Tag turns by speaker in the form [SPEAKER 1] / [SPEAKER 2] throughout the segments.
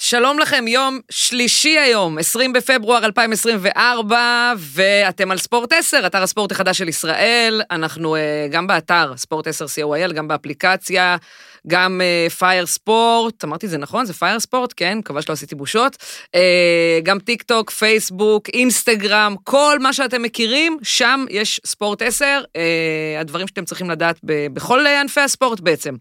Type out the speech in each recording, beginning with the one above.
[SPEAKER 1] שלום לכם, יום שלישי היום, 20 בפברואר 2024, ואתם על ספורט 10, אתר הספורט החדש של ישראל. אנחנו אה, גם באתר ספורט 10 co.il, גם באפליקציה, גם פייר ספורט, אמרתי זה נכון? זה פייר ספורט, כן, מקווה שלא עשיתי בושות. אה, גם טיק טוק, פייסבוק, אינסטגרם, כל מה שאתם מכירים, שם יש ספורט 10, אה, הדברים שאתם צריכים לדעת ב- בכל אה, ענפי הספורט בעצם.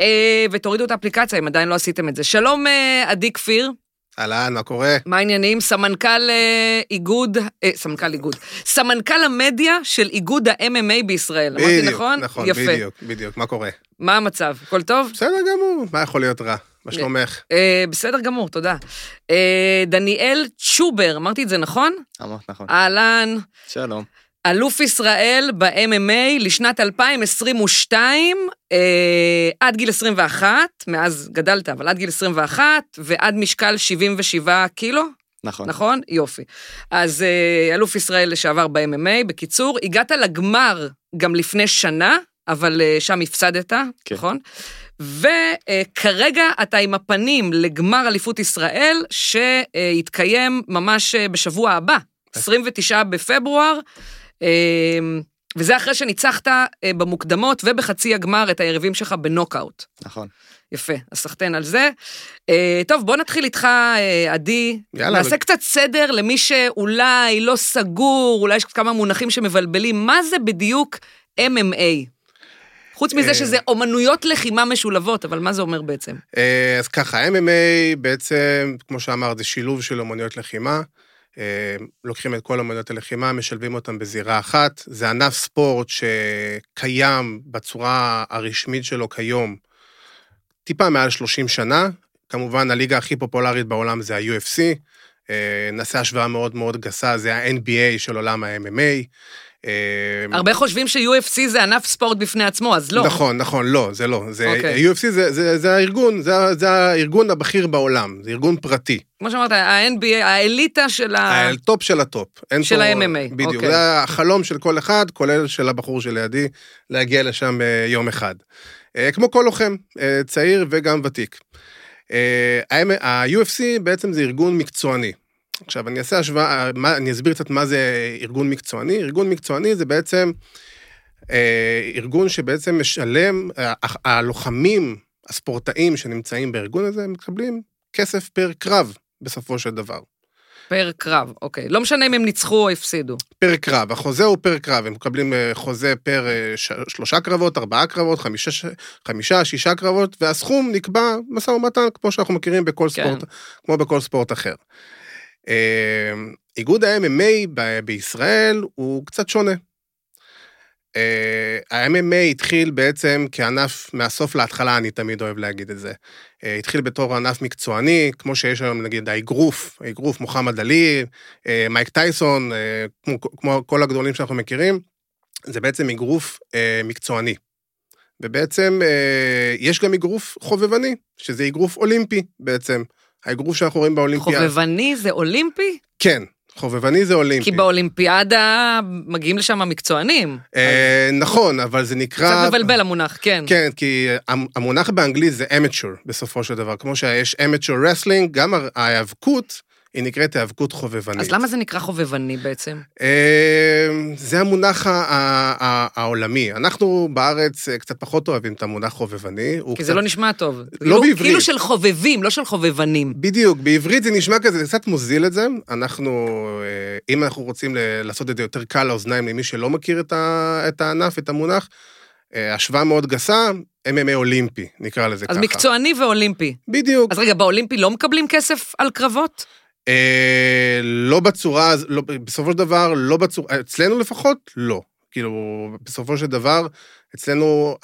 [SPEAKER 1] אה, ותורידו את האפליקציה אם עדיין לא עשיתם את זה. שלום, אה, עדי כפיר,
[SPEAKER 2] אהלן, מה קורה?
[SPEAKER 1] מה העניינים? סמנכ"ל אה, איגוד, אה, סמנכ"ל איגוד, סמנכ"ל המדיה של איגוד ה-MMA בישראל, אמרתי
[SPEAKER 2] בדיוק,
[SPEAKER 1] נכון?
[SPEAKER 2] נכון,
[SPEAKER 1] יפה.
[SPEAKER 2] בדיוק, בדיוק, מה קורה?
[SPEAKER 1] מה המצב? הכל טוב?
[SPEAKER 2] בסדר גמור, מה יכול להיות רע? מה שלומך?
[SPEAKER 1] אה, בסדר גמור, תודה. אה, דניאל צ'ובר, אמרתי את זה נכון?
[SPEAKER 3] אמרת נכון.
[SPEAKER 1] אהלן,
[SPEAKER 3] שלום.
[SPEAKER 1] אלוף ישראל ב-MMA לשנת 2022, אה, עד גיל 21, מאז גדלת, אבל עד גיל 21, ועד משקל 77 קילו,
[SPEAKER 3] נכון.
[SPEAKER 1] נכון? יופי. אז אה, אלוף ישראל לשעבר ב-MMA, בקיצור, הגעת לגמר גם לפני שנה, אבל אה, שם הפסדת,
[SPEAKER 3] כן.
[SPEAKER 1] נכון? וכרגע אתה עם הפנים לגמר אליפות ישראל, שיתקיים ממש אה, בשבוע הבא, 29 בפברואר. אה, וזה אחרי שניצחת אה, במוקדמות ובחצי הגמר את היריבים שלך בנוקאוט.
[SPEAKER 3] נכון.
[SPEAKER 1] יפה, אז סחטיין על זה. אה, טוב, בוא נתחיל איתך, אה, עדי.
[SPEAKER 2] יאללה,
[SPEAKER 1] נעשה
[SPEAKER 2] אבל-
[SPEAKER 1] קצת סדר למי שאולי לא סגור, אולי יש כמה מונחים שמבלבלים. מה זה בדיוק MMA? חוץ מזה
[SPEAKER 2] אה.
[SPEAKER 1] שזה אומנויות לחימה משולבות, אבל מה זה אומר בעצם?
[SPEAKER 2] אה, אז ככה, MMA בעצם, כמו שאמרת, זה שילוב של אומנויות לחימה. אה, לוקחים את כל אומנויות הלחימה, משלבים אותן בזירה אחת. זה ענף ספורט שקיים בצורה הרשמית שלו כיום טיפה מעל 30 שנה. כמובן, הליגה הכי פופולרית בעולם זה ה-UFC. אה, נעשה השוואה מאוד מאוד גסה, זה ה-NBA של עולם ה-MMA. אה,
[SPEAKER 1] הרבה חושבים ש-UFC זה ענף ספורט בפני עצמו, אז לא.
[SPEAKER 2] נכון, נכון, לא, זה לא. זה,
[SPEAKER 1] אוקיי.
[SPEAKER 2] UFC זה, זה, זה הארגון, זה, ה- זה הארגון הבכיר בעולם, זה ארגון פרטי.
[SPEAKER 1] כמו שאמרת, ה-NBA, האליטה של ה...
[SPEAKER 2] הטופ של הטופ. אין
[SPEAKER 1] של
[SPEAKER 2] פה-
[SPEAKER 1] ה-MMA,
[SPEAKER 2] בדיוק,
[SPEAKER 1] אוקיי.
[SPEAKER 2] זה החלום של כל אחד, כולל של הבחור שלידי, להגיע לשם אה, יום אחד. אה, כמו כל לוחם, אה, צעיר וגם ותיק. אה, ה- ה-UFC בעצם זה ארגון מקצועני. עכשיו, אני אעשה השוואה, אה, מה- אני אסביר קצת מה זה ארגון מקצועני. ארגון מקצועני זה בעצם אה, ארגון שבעצם משלם, ה- ה- הלוחמים, הספורטאים שנמצאים בארגון הזה, מקבלים כסף פר קרב, בסופו של דבר.
[SPEAKER 1] פר קרב, אוקיי. לא משנה אם הם ניצחו או הפסידו.
[SPEAKER 2] פר קרב, החוזה הוא פר קרב, הם מקבלים אה, חוזה פר אה, ש- שלושה קרבות, ארבעה קרבות, חמישה, ש- חמישה, שישה קרבות, והסכום נקבע משא ומתן, כמו שאנחנו מכירים בכל
[SPEAKER 1] כן.
[SPEAKER 2] ספורט, כמו בכל ספורט אחר. אה, איגוד ה-MMA ב- בישראל הוא קצת שונה. אה, ה-MMA התחיל בעצם כענף מהסוף להתחלה, אני תמיד אוהב להגיד את זה. אה, התחיל בתור ענף מקצועני, כמו שיש היום נגיד האגרוף, האגרוף מוחמד עלי, אה, מייק טייסון, אה, כמו, כמו כל הגדולים שאנחנו מכירים, זה בעצם אגרוף אה, מקצועני. ובעצם אה, יש גם אגרוף חובבני, שזה אגרוף אולימפי בעצם. האגרוף שאנחנו רואים באולימפיאדה.
[SPEAKER 1] חובבני זה אולימפי?
[SPEAKER 2] כן, חובבני זה אולימפי.
[SPEAKER 1] כי באולימפיאדה מגיעים לשם המקצוענים.
[SPEAKER 2] אה, נכון, אבל זה נקרא...
[SPEAKER 1] קצת מבלבל המונח, כן.
[SPEAKER 2] כן, כי המ- המונח באנגלית זה amateur בסופו של דבר. כמו שיש amateur wrestling, גם הר- ההיאבקות, היא נקראת היאבקות חובבנית.
[SPEAKER 1] אז למה זה נקרא חובבני בעצם?
[SPEAKER 2] אה, זה המונח ה- ה- ה- העולמי. אנחנו בארץ אה, קצת פחות אוהבים את המונח חובבני. הוא
[SPEAKER 1] כי
[SPEAKER 2] קצת-
[SPEAKER 1] זה לא נשמע טוב. כאילו-
[SPEAKER 2] בעברית.
[SPEAKER 1] כאילו של חובבים, לא של חובבנים.
[SPEAKER 2] בדיוק, בעברית זה נשמע כזה, זה קצת מוזיל את זה. אנחנו, אה, אם אנחנו רוצים ל- לעשות את זה יותר קל לאוזניים למי שלא מכיר את, ה, את הענף, את המונח, אה, השוואה מאוד גסה, MMA אולימפי, נקרא לזה
[SPEAKER 1] אז
[SPEAKER 2] ככה.
[SPEAKER 1] מקצועני ואולימפי.
[SPEAKER 2] בדיוק.
[SPEAKER 1] אז רגע, באולימפי לא מקבלים כסף על קרבות?
[SPEAKER 2] אה, לא בצורה, הז- לא, בסופו של דבר, לא בצורה, אצלנו לפחות, לא. כאילו, בסופו של דבר, אצלנו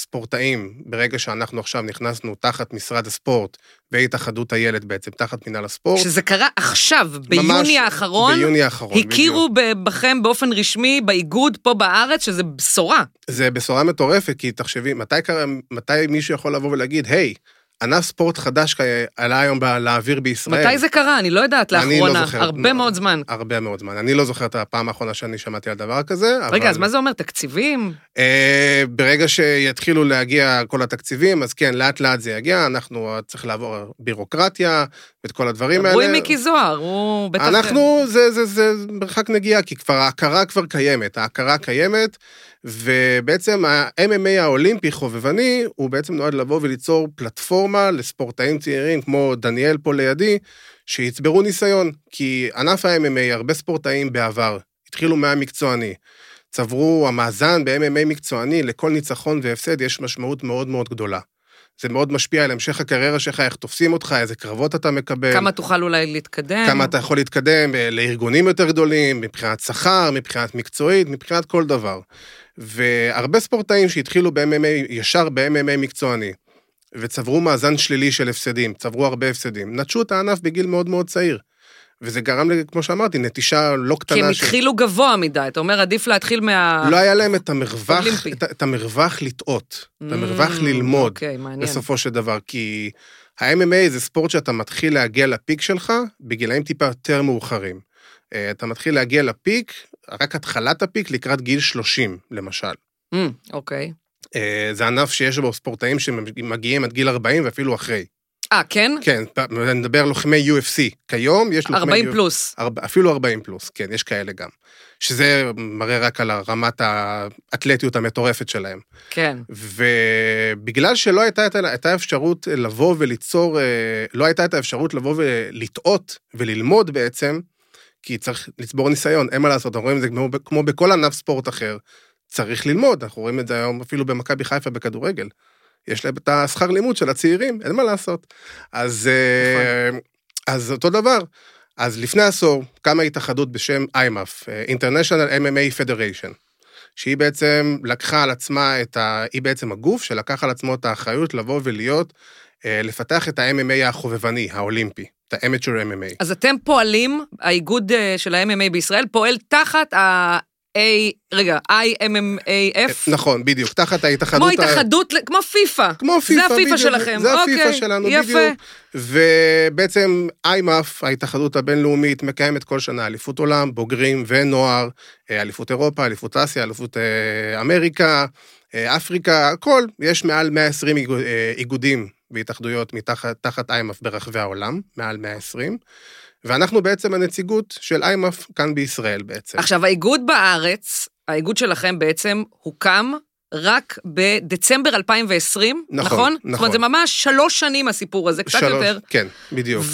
[SPEAKER 2] הספורטאים, ברגע שאנחנו עכשיו נכנסנו תחת משרד הספורט והתאחדות הילד בעצם, תחת מינהל הספורט,
[SPEAKER 1] שזה קרה עכשיו,
[SPEAKER 2] ממש
[SPEAKER 1] ביוני האחרון,
[SPEAKER 2] ביוני האחרון,
[SPEAKER 1] הכירו ב- בכם באופן רשמי באיגוד פה בארץ, שזה בשורה.
[SPEAKER 2] זה בשורה מטורפת, כי תחשבי, מתי, קרה, מתי מישהו יכול לבוא ולהגיד, היי, ענף ספורט חדש כ- עלה היום בא- לאוויר בישראל.
[SPEAKER 1] מתי זה קרה? אני לא יודעת,
[SPEAKER 2] כן. אני לא
[SPEAKER 1] לאחרונה,
[SPEAKER 2] זוכר.
[SPEAKER 1] הרבה מאוד זמן.
[SPEAKER 2] הרבה מאוד זמן. אני לא זוכר את הפעם האחרונה שאני שמעתי על דבר כזה.
[SPEAKER 1] רגע,
[SPEAKER 2] אבל-
[SPEAKER 1] אז מה זה אומר? תקציבים?
[SPEAKER 2] אה, ברגע שיתחילו להגיע כל התקציבים, אז כן, לאט לאט זה יגיע, אנחנו צריך לעבור בירוקרטיה ואת כל הדברים האלה.
[SPEAKER 1] דברו עם מיקי זוהר, הוא בטח... כן.
[SPEAKER 2] אנחנו, זה, זה, זה מרחק נגיעה, כי כבר ההכרה כבר קיימת, ההכרה קיימת, ובעצם ה-MMA האולימפי חובבני, הוא בעצם נועד לבוא וליצור פלטפורמה לספורטאים צעירים, כמו דניאל פה לידי, שיצברו ניסיון, כי ענף ה-MMA, הרבה ספורטאים בעבר, התחילו מהמקצועני. צברו, המאזן ב-MMA מקצועני, לכל ניצחון והפסד יש משמעות מאוד מאוד גדולה. זה מאוד משפיע על המשך הקריירה שלך, איך תופסים אותך, איזה קרבות אתה מקבל.
[SPEAKER 1] כמה תוכל אולי להתקדם?
[SPEAKER 2] כמה אתה יכול להתקדם אה, לארגונים יותר גדולים, מבחינת שכר, מבחינת מקצועית, מבחינת כל דבר. והרבה ספורטאים שהתחילו ב-MMA, ישר ב-MMA מקצועני, וצברו מאזן שלילי של הפסדים, צברו הרבה הפסדים, נטשו את הענף בגיל מאוד מאוד צעיר. וזה גרם, לי, כמו שאמרתי, נטישה לא קטנה.
[SPEAKER 1] כי הם
[SPEAKER 2] של-
[SPEAKER 1] התחילו גבוה מדי, אתה אומר, עדיף להתחיל מה...
[SPEAKER 2] לא היה להם את המרווח,
[SPEAKER 1] אולימפי.
[SPEAKER 2] את, ה- את המרווח לטעות, את המרווח
[SPEAKER 1] Mm,
[SPEAKER 2] ללמוד.
[SPEAKER 1] אוקיי, מעניין.
[SPEAKER 2] בסופו של דבר, כי ה-MMA זה ספורט שאתה מתחיל להגיע לפיק שלך בגילאים טיפה יותר מאוחרים. אה, אתה מתחיל להגיע לפיק, רק התחלת הפיק לקראת גיל 30, למשל.
[SPEAKER 1] Mm, אוקיי.
[SPEAKER 2] אה, זה ענף שיש בו ספורטאים שמגיעים עד גיל 40 ואפילו אחרי.
[SPEAKER 1] אה, כן?
[SPEAKER 2] כן, פ- אני מדבר על לוחמי UFC. כיום יש לוחמי...
[SPEAKER 1] 40
[SPEAKER 2] UFC
[SPEAKER 1] פלוס.
[SPEAKER 2] ארבע- אפילו 40 פלוס, כן, יש כאלה גם. שזה מראה רק על רמת האתלטיות המטורפת שלהם.
[SPEAKER 1] כן.
[SPEAKER 2] ובגלל שלא הייתה את ה- את האפשרות לבוא וליצור, אה, לא הייתה את האפשרות לבוא ולטעות וללמוד בעצם, כי צריך לצבור ניסיון, אין מה לעשות, אנחנו רואים את זה כמו, ב- כמו בכל ענף ספורט אחר, צריך ללמוד, אנחנו רואים את זה היום אפילו במכבי חיפה בכדורגל. יש להם את השכר לימוד של הצעירים, אין מה לעשות. אז, אה, אז אותו דבר. אז לפני עשור קמה התאחדות בשם IMAF, אה, International MMA Federation. שהיא בעצם לקחה על עצמה את ה... היא בעצם הגוף שלקח על עצמו את האחריות לבוא ולהיות, אה, לפתח את ה-MMA החובבני, האולימפי, את ה-Amature MMA.
[SPEAKER 1] אז אתם פועלים, האיגוד אה, של ה-MMA בישראל פועל תחת ה-A, רגע, IMMAF?
[SPEAKER 2] נכון, בדיוק, תחת ההתאחדות...
[SPEAKER 1] כמו
[SPEAKER 2] ה-
[SPEAKER 1] התאחדות, ל- כמו פיפ"א.
[SPEAKER 2] כמו פיפ"א,
[SPEAKER 1] הפיפ"א
[SPEAKER 2] בדיוק.
[SPEAKER 1] שלכם,
[SPEAKER 2] זה הפיפ"א
[SPEAKER 1] אוקיי,
[SPEAKER 2] שלנו,
[SPEAKER 1] יפה.
[SPEAKER 2] בדיוק. ובעצם איימאף, ההתאחדות הבינלאומית, מקיימת כל שנה אליפות עולם, בוגרים ונוער, אה, אליפות אירופה, אליפות אסיה, אליפות אה, אמריקה, אה, אפריקה, הכל. יש מעל 120 איגוד- אה, איגודים והתאחדויות מתחת- תחת איימאף ברחבי העולם, מעל 120. ואנחנו בעצם הנציגות של איימאף כאן בישראל בעצם.
[SPEAKER 1] עכשיו, האיגוד בארץ, האיגוד שלכם בעצם הוקם רק בדצמבר 2020,
[SPEAKER 2] נכון,
[SPEAKER 1] זאת
[SPEAKER 2] נכון.
[SPEAKER 1] אומרת, זה ממש שלוש שנים הסיפור הזה, קצת
[SPEAKER 2] שלוש-
[SPEAKER 1] יותר.
[SPEAKER 2] כן, בדיוק.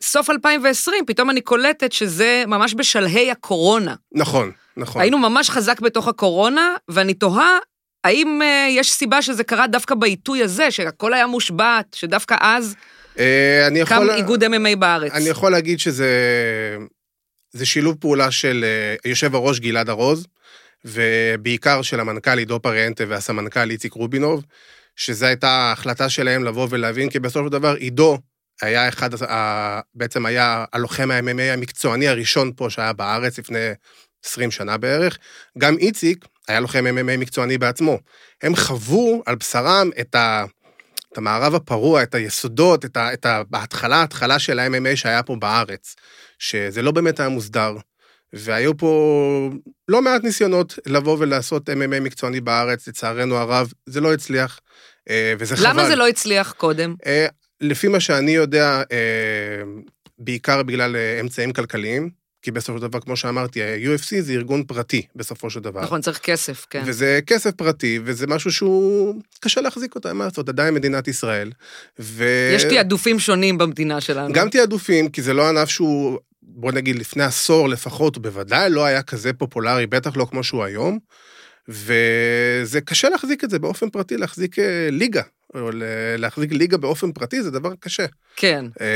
[SPEAKER 1] וסוף 2020, פתאום אני קולטת שזה ממש בשלהי הקורונה.
[SPEAKER 2] נכון, נכון.
[SPEAKER 1] היינו ממש חזק בתוך הקורונה, ואני תוהה האם אה, יש סיבה שזה קרה דווקא בעיתוי הזה, שהכל היה מושבת, שדווקא אז
[SPEAKER 2] אה, אני
[SPEAKER 1] קם
[SPEAKER 2] יכול...
[SPEAKER 1] איגוד MMA בארץ.
[SPEAKER 2] אני יכול להגיד שזה זה שילוב פעולה של אה, יושב הראש גלעד ארוז, ובעיקר של המנכ"ל עידו פריאנטה והסמנכ"ל איציק רובינוב, שזו הייתה ההחלטה שלהם לבוא ולהבין, כי בסופו של דבר עידו היה אחד, הס- ה- בעצם היה הלוחם ה-MMA המקצועני הראשון פה שהיה בארץ לפני 20 שנה בערך. גם איציק היה לוחם MMA מקצועני בעצמו. הם חוו על בשרם את ה... את המערב הפרוע, את היסודות, את, ה, את ה, ההתחלה, ההתחלה של ה-MMA שהיה פה בארץ, שזה לא באמת היה מוסדר. והיו פה לא מעט ניסיונות לבוא ולעשות MMA מקצועני בארץ, לצערנו הרב, זה לא הצליח, אה, וזה חבל.
[SPEAKER 1] למה זה לא הצליח קודם?
[SPEAKER 2] אה, לפי מה שאני יודע, אה, בעיקר בגלל אה, אמצעים כלכליים, כי בסופו של דבר, כמו שאמרתי, ה-UFC זה ארגון פרטי, בסופו של דבר.
[SPEAKER 1] נכון, צריך כסף, כן.
[SPEAKER 2] אה. וזה כסף פרטי, וזה משהו שהוא קשה להחזיק אותו, אין מה לעשות, עדיין מדינת ישראל. ו...
[SPEAKER 1] יש תעדופים שונים במדינה שלנו.
[SPEAKER 2] גם תעדופים, כי זה לא ענף שהוא, בוא נגיד, לפני עשור לפחות, הוא בוודאי לא היה כזה פופולרי, בטח לא כמו שהוא היום, וזה קשה להחזיק את זה באופן פרטי, להחזיק אה, ליגה. או ל- להחזיק ליגה באופן פרטי זה דבר קשה.
[SPEAKER 1] כן.
[SPEAKER 2] אה,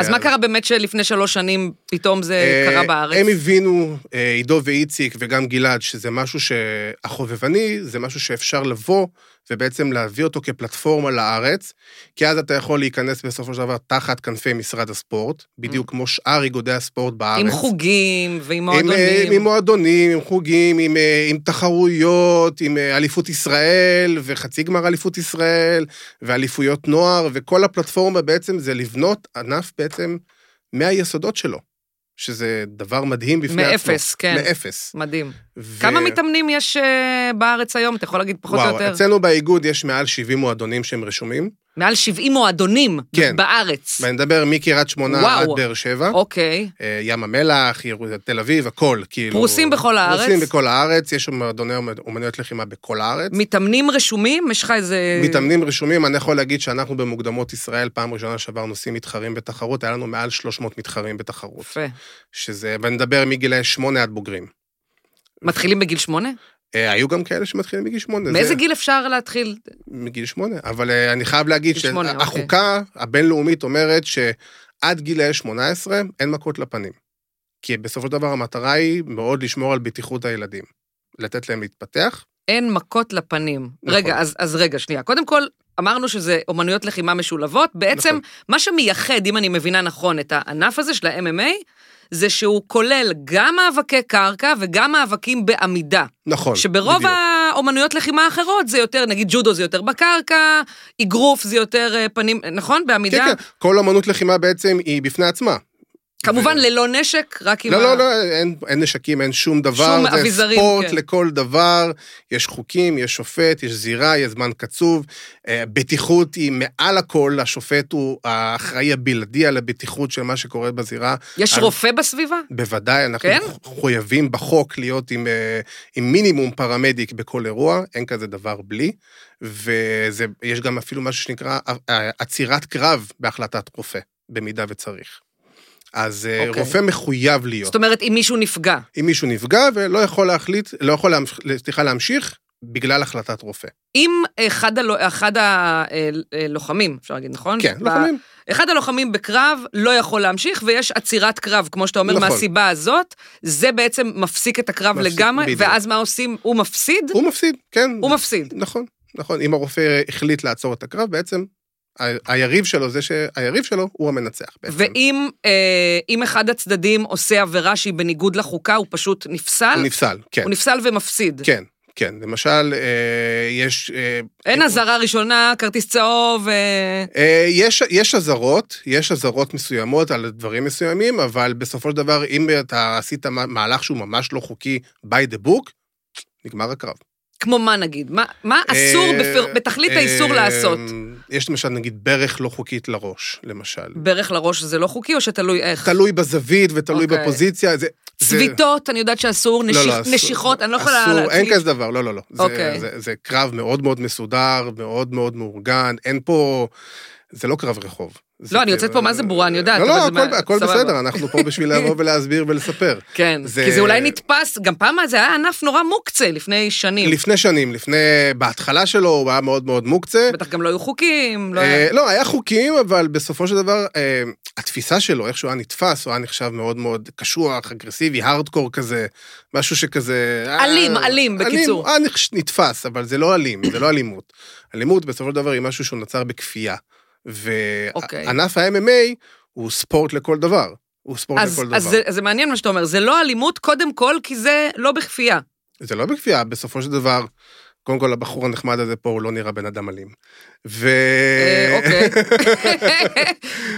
[SPEAKER 1] אז מה קרה באמת שלפני שלוש שנים פתאום זה
[SPEAKER 2] אה,
[SPEAKER 1] קרה בארץ?
[SPEAKER 2] הם הבינו, אה, עידו ואיציק וגם גלעד, שזה משהו שהחובבני, זה משהו שאפשר לבוא ובעצם להביא אותו כפלטפורמה לארץ, כי אז אתה יכול להיכנס בסופו של דבר תחת כנפי משרד הספורט, בדיוק כמו שאר איגודי הספורט בארץ.
[SPEAKER 1] Mm. עם חוגים ועם
[SPEAKER 2] עם, אה, עם
[SPEAKER 1] מועדונים.
[SPEAKER 2] מועדונים, עם חוגים, עם, אה, עם תחרויות, עם אה, אליפות ישראל וחצי גמר אליפות ישראל ואליפויות נוער, וכל הפלטפורמה בעצם זה לבנות ענף בעצם מהיסודות שלו, שזה דבר מדהים בפני עצמו.
[SPEAKER 1] מאפס, כן.
[SPEAKER 2] מאפס.
[SPEAKER 1] מדהים.
[SPEAKER 2] ו-
[SPEAKER 1] כמה מתאמנים יש אה, בארץ היום? אתה יכול להגיד פחות או
[SPEAKER 2] וואו,
[SPEAKER 1] יותר?
[SPEAKER 2] אצלנו באיגוד יש מעל 70 מועדונים שהם רשומים,
[SPEAKER 1] מעל 70 מועדונים
[SPEAKER 2] כן.
[SPEAKER 1] בארץ.
[SPEAKER 2] ואני מדבר מקריית שמונה
[SPEAKER 1] וואו.
[SPEAKER 2] עד באר שבע.
[SPEAKER 1] אוקיי.
[SPEAKER 2] אה, ים המלח, יר- תל אביב, הכל, כאילו.
[SPEAKER 1] פרוסים בכל הארץ?
[SPEAKER 2] פרוסים בכל הארץ, יש מועדוני אומנויות לחימה בכל הארץ.
[SPEAKER 1] מתאמנים רשומים? יש לך איזה...
[SPEAKER 2] מתאמנים רשומים, אני יכול להגיד שאנחנו במוקדמות ישראל, פעם ראשונה שעברנו נושאים מתחרים בתחרות, היה לנו מעל 300 מתחרים בתחרות.
[SPEAKER 1] יפה.
[SPEAKER 2] שזה, ואני מדבר מגילאי 8 עד בוגרים.
[SPEAKER 1] מתחילים בגיל שמונה?
[SPEAKER 2] אה, היו גם כאלה שמתחילים מגיל 8.
[SPEAKER 1] מאיזה גיל אפשר להתחיל?
[SPEAKER 2] מגיל 8. אבל אה, אני חייב להגיד
[SPEAKER 1] גיל שמונה, אוקיי.
[SPEAKER 2] שהחוקה הבינלאומית אומרת שעד גילאי 18 אין מכות לפנים. כי בסופו של דבר המטרה היא מאוד לשמור על בטיחות הילדים. לתת להם להתפתח.
[SPEAKER 1] אין מכות לפנים.
[SPEAKER 2] נכון.
[SPEAKER 1] רגע, אז, אז רגע, שנייה. קודם כל, אמרנו שזה אומנויות לחימה משולבות. בעצם,
[SPEAKER 2] נכון.
[SPEAKER 1] מה שמייחד, אם אני מבינה נכון, את הענף הזה של ה-MMA, זה שהוא כולל גם מאבקי קרקע וגם מאבקים בעמידה.
[SPEAKER 2] נכון,
[SPEAKER 1] שברוב
[SPEAKER 2] בדיוק.
[SPEAKER 1] האומנויות לחימה האחרות זה יותר, נגיד ג'ודו זה יותר בקרקע, אגרוף זה יותר אה, פנים, נכון? בעמידה?
[SPEAKER 2] כן, כן, כל אמנות לחימה בעצם היא בפני עצמה.
[SPEAKER 1] כמובן ללא נשק, רק עם
[SPEAKER 2] לא,
[SPEAKER 1] ה...
[SPEAKER 2] לא, לא, אין, אין נשקים, אין שום דבר.
[SPEAKER 1] כאילו, שום אביזרים,
[SPEAKER 2] זה ספורט
[SPEAKER 1] כן.
[SPEAKER 2] לכל דבר, יש חוקים, יש שופט, יש זירה, יש זמן קצוב. אה, בטיחות היא מעל הכל, השופט הוא האחראי הבלעדי על הבטיחות של מה שקורה בזירה.
[SPEAKER 1] יש
[SPEAKER 2] אז-
[SPEAKER 1] רופא בסביבה?
[SPEAKER 2] בוודאי, אנחנו
[SPEAKER 1] כן?
[SPEAKER 2] מחויבים בחוק להיות עם, אה, עם מינימום פרמדיק בכל אירוע, אין כזה דבר בלי. ויש גם אפילו משהו שנקרא אה, אה, עצירת קרב בהחלטת רופא, במידה וצריך. אז okay.
[SPEAKER 1] אוקיי.
[SPEAKER 2] רופא מחויב להיות.
[SPEAKER 1] זאת אומרת, אם מישהו נפגע.
[SPEAKER 2] אם מישהו נפגע ולא יכול להחליט, לא יכול להמשיך, סליחה, להמשיך בגלל החלטת רופא.
[SPEAKER 1] אם אחד, הלו, אחד הלוחמים, אפשר להגיד, נכון?
[SPEAKER 2] כן,
[SPEAKER 1] ב-
[SPEAKER 2] לוחמים.
[SPEAKER 1] אחד הלוחמים בקרב לא יכול להמשיך, ויש עצירת קרב, כמו שאתה אומר,
[SPEAKER 2] נכון.
[SPEAKER 1] מהסיבה הזאת, זה בעצם מפסיק את הקרב
[SPEAKER 2] מפסיק,
[SPEAKER 1] לגמרי,
[SPEAKER 2] בדיוק.
[SPEAKER 1] ואז מה עושים? הוא מפסיד?
[SPEAKER 2] הוא מפסיד, כן.
[SPEAKER 1] הוא מפסיד.
[SPEAKER 2] נכון, נכון. אם הרופא החליט לעצור את הקרב, בעצם ה- היריב שלו זה שהיריב שלו הוא המנצח בעצם.
[SPEAKER 1] ואם אה, אם אחד הצדדים עושה עבירה שהיא בניגוד לחוקה, הוא פשוט נפסל?
[SPEAKER 2] הוא נפסל, כן.
[SPEAKER 1] הוא נפסל ומפסיד.
[SPEAKER 2] כן, כן. למשל, אה, יש... אה,
[SPEAKER 1] אין אזהרה ראשונה, כרטיס צהוב, אה,
[SPEAKER 2] אה, יש, יש אזהרות, יש אזהרות מסוימות על דברים מסוימים, אבל בסופו של דבר, אם אתה עשית מה- מהלך שהוא ממש לא חוקי by the book, נגמר הקרב.
[SPEAKER 1] כמו מה נגיד? מה, מה אסור
[SPEAKER 2] אה,
[SPEAKER 1] בפר... בתכלית
[SPEAKER 2] אה,
[SPEAKER 1] האיסור לעשות?
[SPEAKER 2] יש למשל, נגיד, ברך לא חוקית לראש, למשל.
[SPEAKER 1] ברך לראש זה לא חוקי, או שתלוי איך?
[SPEAKER 2] תלוי בזווית ותלוי
[SPEAKER 1] אוקיי.
[SPEAKER 2] בפוזיציה. זה- זה-
[SPEAKER 1] צביטות, אני יודעת שאסור,
[SPEAKER 2] לא,
[SPEAKER 1] נשיך-
[SPEAKER 2] לא, אסור.
[SPEAKER 1] נשיכות, אני לא יכולה...
[SPEAKER 2] אסור,
[SPEAKER 1] להציג.
[SPEAKER 2] אין כזה דבר, לא, לא, לא. זה-
[SPEAKER 1] אוקיי.
[SPEAKER 2] זה- זה קרב מאוד מאוד מסודר, מאוד מאוד מאורגן, אין פה... זה לא קרב רחוב. זה
[SPEAKER 1] לא, אני
[SPEAKER 2] כאילו-
[SPEAKER 1] יוצאת פה מה זה ברורה, אני יודעת,
[SPEAKER 2] לא,
[SPEAKER 1] אבל
[SPEAKER 2] לא,
[SPEAKER 1] זה
[SPEAKER 2] הכל-
[SPEAKER 1] מה-
[SPEAKER 2] הכל
[SPEAKER 1] סבבה.
[SPEAKER 2] בסדר, אנחנו פה בשביל לבוא ולהסביר ולספר.
[SPEAKER 1] כן,
[SPEAKER 2] זה-
[SPEAKER 1] כי זה אולי נתפס, גם פעם זה היה ענף נורא מוקצה לפני שנים.
[SPEAKER 2] לפני שנים, לפני... בהתחלה שלו הוא היה מאוד מאוד מוקצה.
[SPEAKER 1] בטח גם לא היו חוקים, לא היה...
[SPEAKER 2] אה, לא, היה חוקים, אבל בסופו של דבר, אה, התפיסה שלו, איך שהוא היה נתפס, הוא היה נחשב מאוד מאוד קשוח, אגרסיבי, הארדקור כזה, משהו שכזה... אה,
[SPEAKER 1] אלים, אלים, בקיצור.
[SPEAKER 2] הוא היה נחש- נתפס, אבל זה לא אלים, זה לא אלימות. אלימות בסופו של דבר היא משהו שהוא נוצר בכפייה.
[SPEAKER 1] אוקיי.
[SPEAKER 2] וענף ה-MMA הוא ספורט לכל דבר. הוא ספורט
[SPEAKER 1] אז,
[SPEAKER 2] לכל
[SPEAKER 1] אז
[SPEAKER 2] דבר.
[SPEAKER 1] זה, זה מעניין מה שאתה אומר, זה לא אלימות קודם כל, כי זה לא בכפייה.
[SPEAKER 2] זה לא בכפייה, בסופו של דבר, קודם כל הבחור הנחמד הזה פה הוא לא נראה בן אדם אלים. ו...
[SPEAKER 1] אה, אוקיי.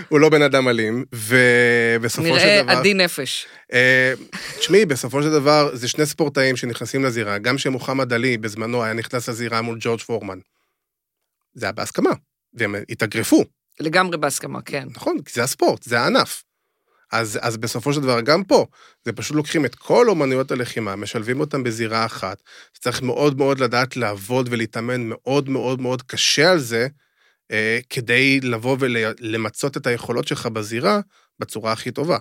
[SPEAKER 2] הוא לא בן אדם אלים, ובסופו של
[SPEAKER 1] נראה
[SPEAKER 2] דבר...
[SPEAKER 1] עדין נפש.
[SPEAKER 2] אה, תשמעי, בסופו של דבר, זה שני ספורטאים שנכנסים לזירה. גם שמוחמד עלי בזמנו היה נכנס לזירה מול ג'ורג' פורמן. זה היה בהסכמה, והם התאגרפו,
[SPEAKER 1] לגמרי בהסכמה, כן.
[SPEAKER 2] נכון? כי זה הספורט, זה הענף. אז, אז בסופו של דבר, גם פה, זה פשוט לוקחים את כל אומנויות הלחימה, משלבים אותם בזירה אחת. צריך מאוד מאוד לדעת לעבוד ולהתאמן מאוד מאוד מאוד קשה על זה, אה, כדי לבוא ולמצות את היכולות שלך בזירה בצורה הכי טובה.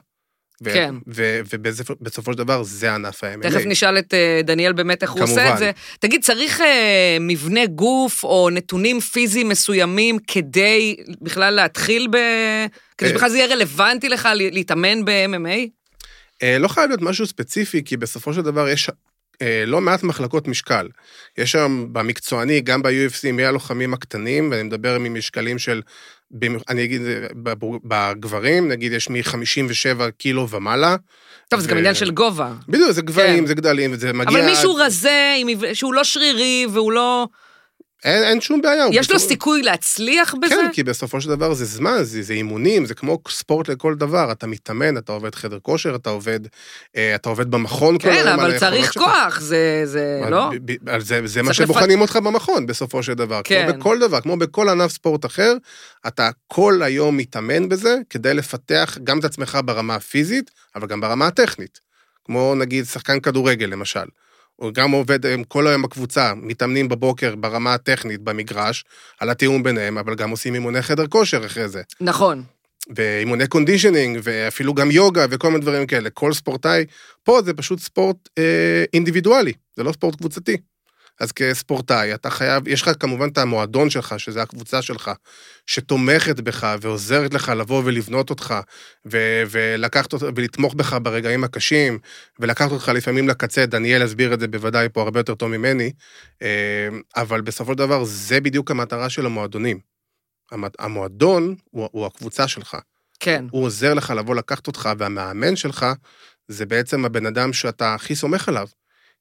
[SPEAKER 2] ו-
[SPEAKER 1] כן.
[SPEAKER 2] ו- ובסופו של דבר, זה ענף ה-MMA.
[SPEAKER 1] תכף נשאל את אה, דניאל באמת איך הוא עושה
[SPEAKER 2] כמובן.
[SPEAKER 1] את זה. תגיד, צריך אה, מבנה גוף או נתונים פיזיים מסוימים כדי בכלל להתחיל ב... כדי
[SPEAKER 2] אה.
[SPEAKER 1] שבכלל זה יהיה רלוונטי לך ל- להתאמן ב-MMA?
[SPEAKER 2] אה, לא חייב להיות משהו ספציפי, כי בסופו של דבר יש אה, לא מעט מחלקות משקל. יש שם במקצועני, גם ב-UFC, מהלוחמים הקטנים, ואני מדבר ממשקלים של, במ- אני אגיד, אה, בב- בגברים, נגיד יש מ-57 קילו ומעלה.
[SPEAKER 1] טוב, זה גם
[SPEAKER 2] ו-
[SPEAKER 1] עניין של גובה.
[SPEAKER 2] בדיוק, זה גברים,
[SPEAKER 1] כן.
[SPEAKER 2] זה גדלים, וזה מגיע...
[SPEAKER 1] אבל מישהו רזה, עם עיו- שהוא לא שרירי והוא לא...
[SPEAKER 2] אין, אין שום בעיה. הוא
[SPEAKER 1] יש לו
[SPEAKER 2] לא, בסופו-
[SPEAKER 1] סיכוי להצליח בזה?
[SPEAKER 2] כן, כי בסופו של דבר זה זמן, זה, זה אימונים, זה כמו ספורט לכל דבר. אתה מתאמן, אתה עובד חדר כושר, אתה עובד, אה, אתה עובד במכון כל
[SPEAKER 1] כן,
[SPEAKER 2] היום על
[SPEAKER 1] אבל צריך
[SPEAKER 2] היכולות שלך.
[SPEAKER 1] כוח, זה... זה...
[SPEAKER 2] אבל
[SPEAKER 1] לא?
[SPEAKER 2] ב- ב- על זה, זה מה
[SPEAKER 1] צריך
[SPEAKER 2] שבוחנים אותך במכון בסופו של דבר.
[SPEAKER 1] כן.
[SPEAKER 2] כמו בכל דבר, כמו בכל ענף ספורט אחר, אתה כל היום מתאמן בזה כדי לפתח גם את עצמך ברמה הפיזית, אבל גם ברמה הטכנית. כמו נגיד שחקן כדורגל למשל. הוא גם עובד עם כל היום הקבוצה, מתאמנים בבוקר ברמה הטכנית במגרש, על התיאום ביניהם, אבל גם עושים אימוני חדר כושר אחרי זה.
[SPEAKER 1] נכון.
[SPEAKER 2] ואימוני קונדישנינג, ואפילו גם יוגה וכל מיני דברים כאלה. כל ספורטאי, פה זה פשוט ספורט אה, אינדיבידואלי, זה לא ספורט קבוצתי. אז כספורטאי, אתה חייב, יש לך כמובן את המועדון שלך, שזה הקבוצה שלך, שתומכת בך ועוזרת לך לבוא ולבנות אותך, ו- ולקחת אותך, ולתמוך בך ברגעים הקשים, ולקחת אותך לפעמים לקצה, דניאל הסביר את זה בוודאי פה הרבה יותר טוב ממני, אה, אבל בסופו של דבר, זה בדיוק המטרה של המועדונים. המ- המועדון הוא, הוא הקבוצה שלך.
[SPEAKER 1] כן.
[SPEAKER 2] הוא עוזר לך לבוא לקחת אותך, והמאמן שלך זה בעצם הבן אדם שאתה הכי סומך עליו.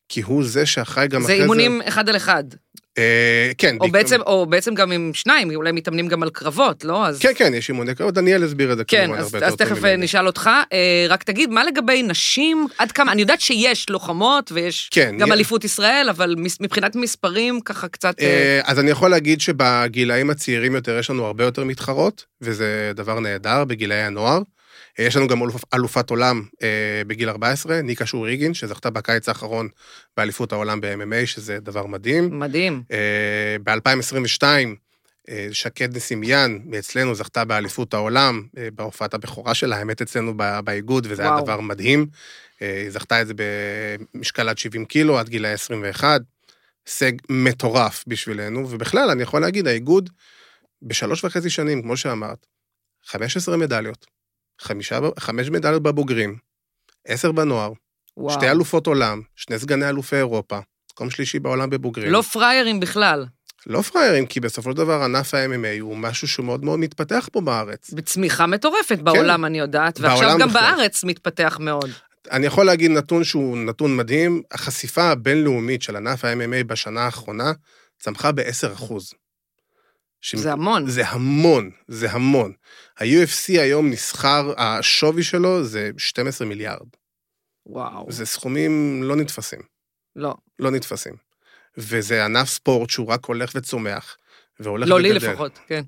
[SPEAKER 2] כי הוא זה שאחראי גם
[SPEAKER 1] זה
[SPEAKER 2] אחרי
[SPEAKER 1] אימונים אחד על אחד.
[SPEAKER 2] זה... אה, כן.
[SPEAKER 1] או
[SPEAKER 2] בעיקר-
[SPEAKER 1] בעצם, או בעצם גם עם שניים, אולי מתאמנים גם על קרבות, לא? אז...
[SPEAKER 2] כן, כן, יש אימוני קרב, דניאל הסביר את זה
[SPEAKER 1] כן,
[SPEAKER 2] כמובן
[SPEAKER 1] אז,
[SPEAKER 2] הרבה
[SPEAKER 1] אז
[SPEAKER 2] יותר טוב
[SPEAKER 1] תכף אה,
[SPEAKER 2] ממני.
[SPEAKER 1] נשאל אותך. אה, רק תגיד, מה לגבי נשים? עד כמה, אני יודעת שיש לוחמות ויש
[SPEAKER 2] כן,
[SPEAKER 1] גם
[SPEAKER 2] יה-
[SPEAKER 1] אליפות ישראל, אבל מס- מבחינת מספרים, ככה קצת... אה,
[SPEAKER 2] אה, אז אני יכול להגיד שבגילאים הצעירים יותר יש לנו הרבה יותר מתחרות, וזה דבר נהדר בגילאי הנוער. אה, יש לנו גם אלופ, אלופת עולם אה, בגיל 14, ניקה שוריגין, שזכתה בקיץ האחרון באליפות העולם ב-MMA, שזה דבר מדהים.
[SPEAKER 1] מדהים.
[SPEAKER 2] אה, ב-2022, אה, שקד נסימיאן מאצלנו זכתה באליפות העולם, אה, בהופעת הבכורה שלה, האמת אצלנו ב- באיגוד, וזה היה
[SPEAKER 1] וואו.
[SPEAKER 2] דבר מדהים. אה, היא זכתה את זה במשקל עד 70 קילו, עד גילה 21. הישג מטורף בשבילנו, ובכלל, אני יכול להגיד, האיגוד בשלוש וחצי שנים, כמו שאמרת, 15 מדליות, חמישה, ב- חמש מדליות בבוגרים, עשר בנוער,
[SPEAKER 1] וואו.
[SPEAKER 2] שתי אלופות עולם, שני סגני אלופי אירופה, מקום שלישי בעולם בבוגרים.
[SPEAKER 1] לא פראיירים בכלל,
[SPEAKER 2] לא פראיירים, כי בסופו של דבר ענף ה-MMA הוא משהו שמאוד מאוד מתפתח פה בארץ.
[SPEAKER 1] בצמיחה מטורפת בעולם, אני יודעת, ועכשיו
[SPEAKER 2] כן, בעולם
[SPEAKER 1] גם
[SPEAKER 2] בכלל.
[SPEAKER 1] בארץ מתפתח מאוד.
[SPEAKER 2] אני יכול להגיד נתון שהוא נתון מדהים, החשיפה הבינלאומית של ענף ה-MMA בשנה האחרונה צמחה ב-10%. שמ-
[SPEAKER 1] זה המון.
[SPEAKER 2] זה המון, זה המון. ה-UFC היום נסחר, השווי שלו זה 12 מיליארד.
[SPEAKER 1] וואו.
[SPEAKER 2] זה סכומים לא נתפסים.
[SPEAKER 1] לא,
[SPEAKER 2] לא נתפסים. וזה ענף ספורט שהוא רק הולך וצומח, והולך
[SPEAKER 1] לא
[SPEAKER 2] וגדל.
[SPEAKER 1] לי לפחות, כן.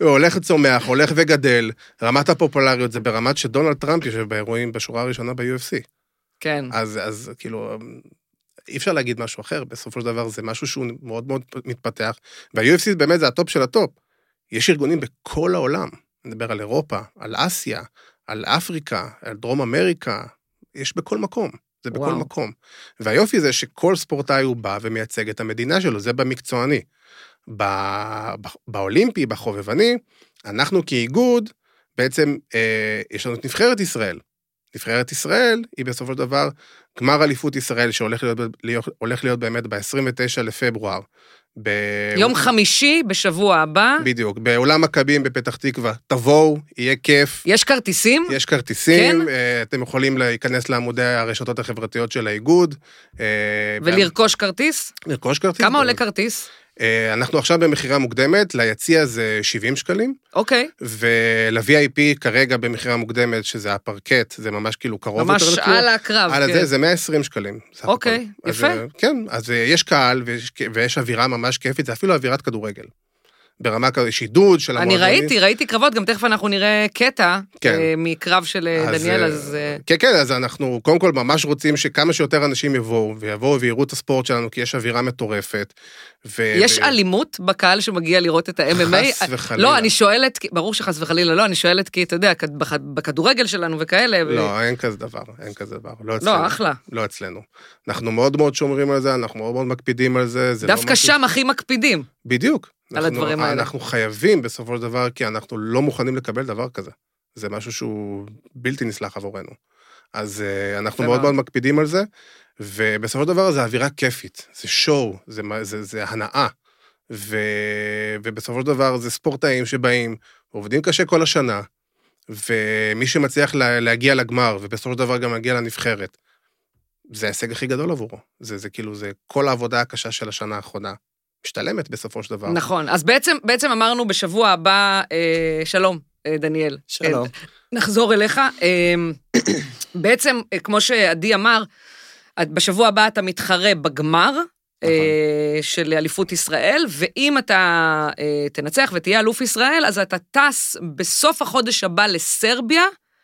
[SPEAKER 2] הוא הולך וצומח, הולך וגדל, רמת הפופולריות זה ברמת שדונלד טראמפ יושב באירועים בשורה הראשונה ב-UFC.
[SPEAKER 1] כן.
[SPEAKER 2] אז, אז כאילו, אי אפשר להגיד משהו אחר, בסופו של דבר זה משהו שהוא מאוד מאוד מתפתח, וה-UFC באמת זה הטופ של הטופ. יש ארגונים בכל העולם, אני מדבר על אירופה, על אסיה, על אפריקה, על דרום אמריקה, יש בכל מקום. זה בכל
[SPEAKER 1] וואו.
[SPEAKER 2] וואו. מקום. והיופי זה שכל ספורטאי הוא בא ומייצג את המדינה שלו, זה במקצועני. ב... ב... באולימפי, בחובבני, אנחנו כאיגוד, בעצם אה, יש לנו את נבחרת ישראל. נבחרת ישראל היא בסופו של דבר גמר אליפות ישראל שהולך להיות, ב- להיות, הולך להיות באמת ב-29 לפברואר. ב...
[SPEAKER 1] יום חמישי בשבוע הבא,
[SPEAKER 2] אוקיי. בדיוק, באולם מכבים בפתח תקווה. תבואו, יהיה כיף.
[SPEAKER 1] יש כרטיסים?
[SPEAKER 2] יש כרטיסים,
[SPEAKER 1] כן.
[SPEAKER 2] אה, אתם יכולים להיכנס לעמודי הרשתות החברתיות של האיגוד. אה,
[SPEAKER 1] ולרכוש כרטיס?
[SPEAKER 2] לרכוש כרטיס.
[SPEAKER 1] כמה עולה כרטיס?
[SPEAKER 2] אה, אנחנו עכשיו במכירה מוקדמת, ליציע זה 70 שקלים,
[SPEAKER 1] אוקיי,
[SPEAKER 2] ול-VIP כרגע במכירה מוקדמת, שזה הפרקט, זה ממש כאילו קרוב
[SPEAKER 1] ממש
[SPEAKER 2] יותר לכלום.
[SPEAKER 1] על הקרב.
[SPEAKER 2] על
[SPEAKER 1] כן.
[SPEAKER 2] זה, זה 120 שקלים. סך הכל.
[SPEAKER 1] אוקיי,
[SPEAKER 2] אז,
[SPEAKER 1] יפה.
[SPEAKER 2] אה, כן, אז אה, יש קהל ויש, ויש אווירה ממש כיפית, זה אפילו אווירת כדורגל. ברמה כזו, יש עידוד של
[SPEAKER 1] אני
[SPEAKER 2] המועדונים.
[SPEAKER 1] ראיתי, ראיתי קרבות, גם תכף אנחנו נראה קטע
[SPEAKER 2] כן.
[SPEAKER 1] אה, מקרב של אה,
[SPEAKER 2] אז,
[SPEAKER 1] דניאל,
[SPEAKER 2] אה,
[SPEAKER 1] אז... אה,
[SPEAKER 2] כן, כן, אז אנחנו קודם כל ממש רוצים שכמה שיותר אנשים יבואו, ויבואו ויראו את הספורט שלנו, כי יש אווירה מטורפת. ו...
[SPEAKER 1] יש
[SPEAKER 2] ו-
[SPEAKER 1] אלימות בקהל שמגיע לראות את ה-MMA?
[SPEAKER 2] אה, חס וחלילה.
[SPEAKER 1] לא, אני שואלת, כי- ברור שחס וחלילה לא, אני שואלת כי, אתה יודע, כד- בכ- בכדורגל שלנו וכאלה, ו-
[SPEAKER 2] לא, אין כזה דבר, אין כזה דבר. לא אצלנו.
[SPEAKER 1] לא, אחלה.
[SPEAKER 2] לא אצלנו. אנחנו מאוד מאוד שומרים על זה, אנחנו מאוד מאוד מקפידים על זה. זה לא
[SPEAKER 1] דווקא שם הכי מקפידים.
[SPEAKER 2] בדיוק.
[SPEAKER 1] על
[SPEAKER 2] אנחנו-
[SPEAKER 1] הדברים האלה.
[SPEAKER 2] אנחנו חייבים בסופו של דבר, כי אנחנו לא מוכנים לקבל דבר כזה. זה משהו שהוא בלתי נסלח עבורנו. אז אה, אנחנו
[SPEAKER 1] יפה
[SPEAKER 2] מאוד
[SPEAKER 1] מאוד.
[SPEAKER 2] מאוד מקפידים על זה, ובסופו של דבר זה אווירה כיפית, זה שואו, זה, מה- זה, זה הנאה. ו, ובסופו של דבר זה ספורטאים שבאים, עובדים קשה כל השנה, ומי שמצליח לה, להגיע לגמר, ובסופו של דבר גם להגיע לנבחרת, זה ההישג הכי גדול עבורו. זה, זה כאילו, זה כל העבודה הקשה של השנה האחרונה. משתלמת בסופו של דבר.
[SPEAKER 1] נכון, אז בעצם, בעצם אמרנו בשבוע הבא, אה, שלום, אה, דניאל.
[SPEAKER 3] שלום.
[SPEAKER 1] אה, נחזור אליך. אה, בעצם, אה, כמו שעדי אמר, את- בשבוע הבא אתה מתחרה בגמר. אה, של אליפות ישראל, ואם אתה אה, תנצח ותהיה אלוף ישראל, אז אתה טס בסוף החודש הבא לסרביה,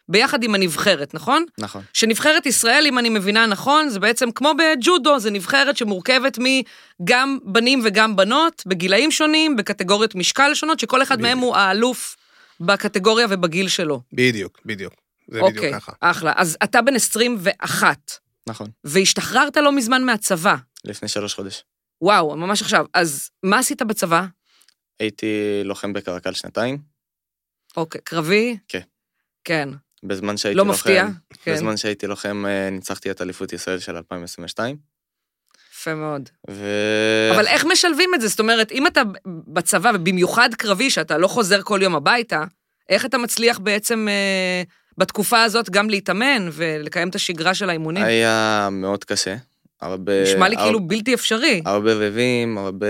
[SPEAKER 1] ביחד עם הנבחרת, נכון?
[SPEAKER 3] נכון.
[SPEAKER 1] שנבחרת ישראל, אם אני מבינה נכון, זה בעצם כמו בג'ודו, זה נבחרת שמורכבת מגם בנים וגם בנות, בגילאים שונים, בקטגוריות משקל שונות, שכל אחד מהם הוא האלוף בקטגוריה ובגיל שלו.
[SPEAKER 2] בדיוק, בדיוק. זה
[SPEAKER 1] אוקיי.
[SPEAKER 2] בדיוק ככה.
[SPEAKER 1] אחלה. אז אתה בן 21,
[SPEAKER 3] נכון.
[SPEAKER 1] והשתחררת לא מזמן מהצבא.
[SPEAKER 3] לפני שלוש חודש.
[SPEAKER 1] וואו, ממש עכשיו. אז מה עשית בצבא?
[SPEAKER 3] הייתי לוחם בקרקל שנתיים,
[SPEAKER 1] אוקיי, קרבי?
[SPEAKER 3] כן.
[SPEAKER 1] כן,
[SPEAKER 3] בזמן שהייתי
[SPEAKER 1] לא
[SPEAKER 3] לוחם...
[SPEAKER 1] מפתיע. כן,
[SPEAKER 3] בזמן שהייתי לוחם אה, ניצחתי את אליפות ישראל של 2022,
[SPEAKER 1] כן. יפה מאוד.
[SPEAKER 3] ו...
[SPEAKER 1] אבל איך משלבים את זה? זאת אומרת, אם אתה בצבא, ובמיוחד קרבי, שאתה לא חוזר כל יום הביתה, איך אתה מצליח בעצם אה, בתקופה הזאת גם להתאמן ולקיים את השגרה של האימונים?
[SPEAKER 3] אה, היה מאוד קשה. הרבה...
[SPEAKER 1] נשמע לי
[SPEAKER 3] הר-
[SPEAKER 1] כאילו בלתי אפשרי.
[SPEAKER 3] הרבה רבים, הרבה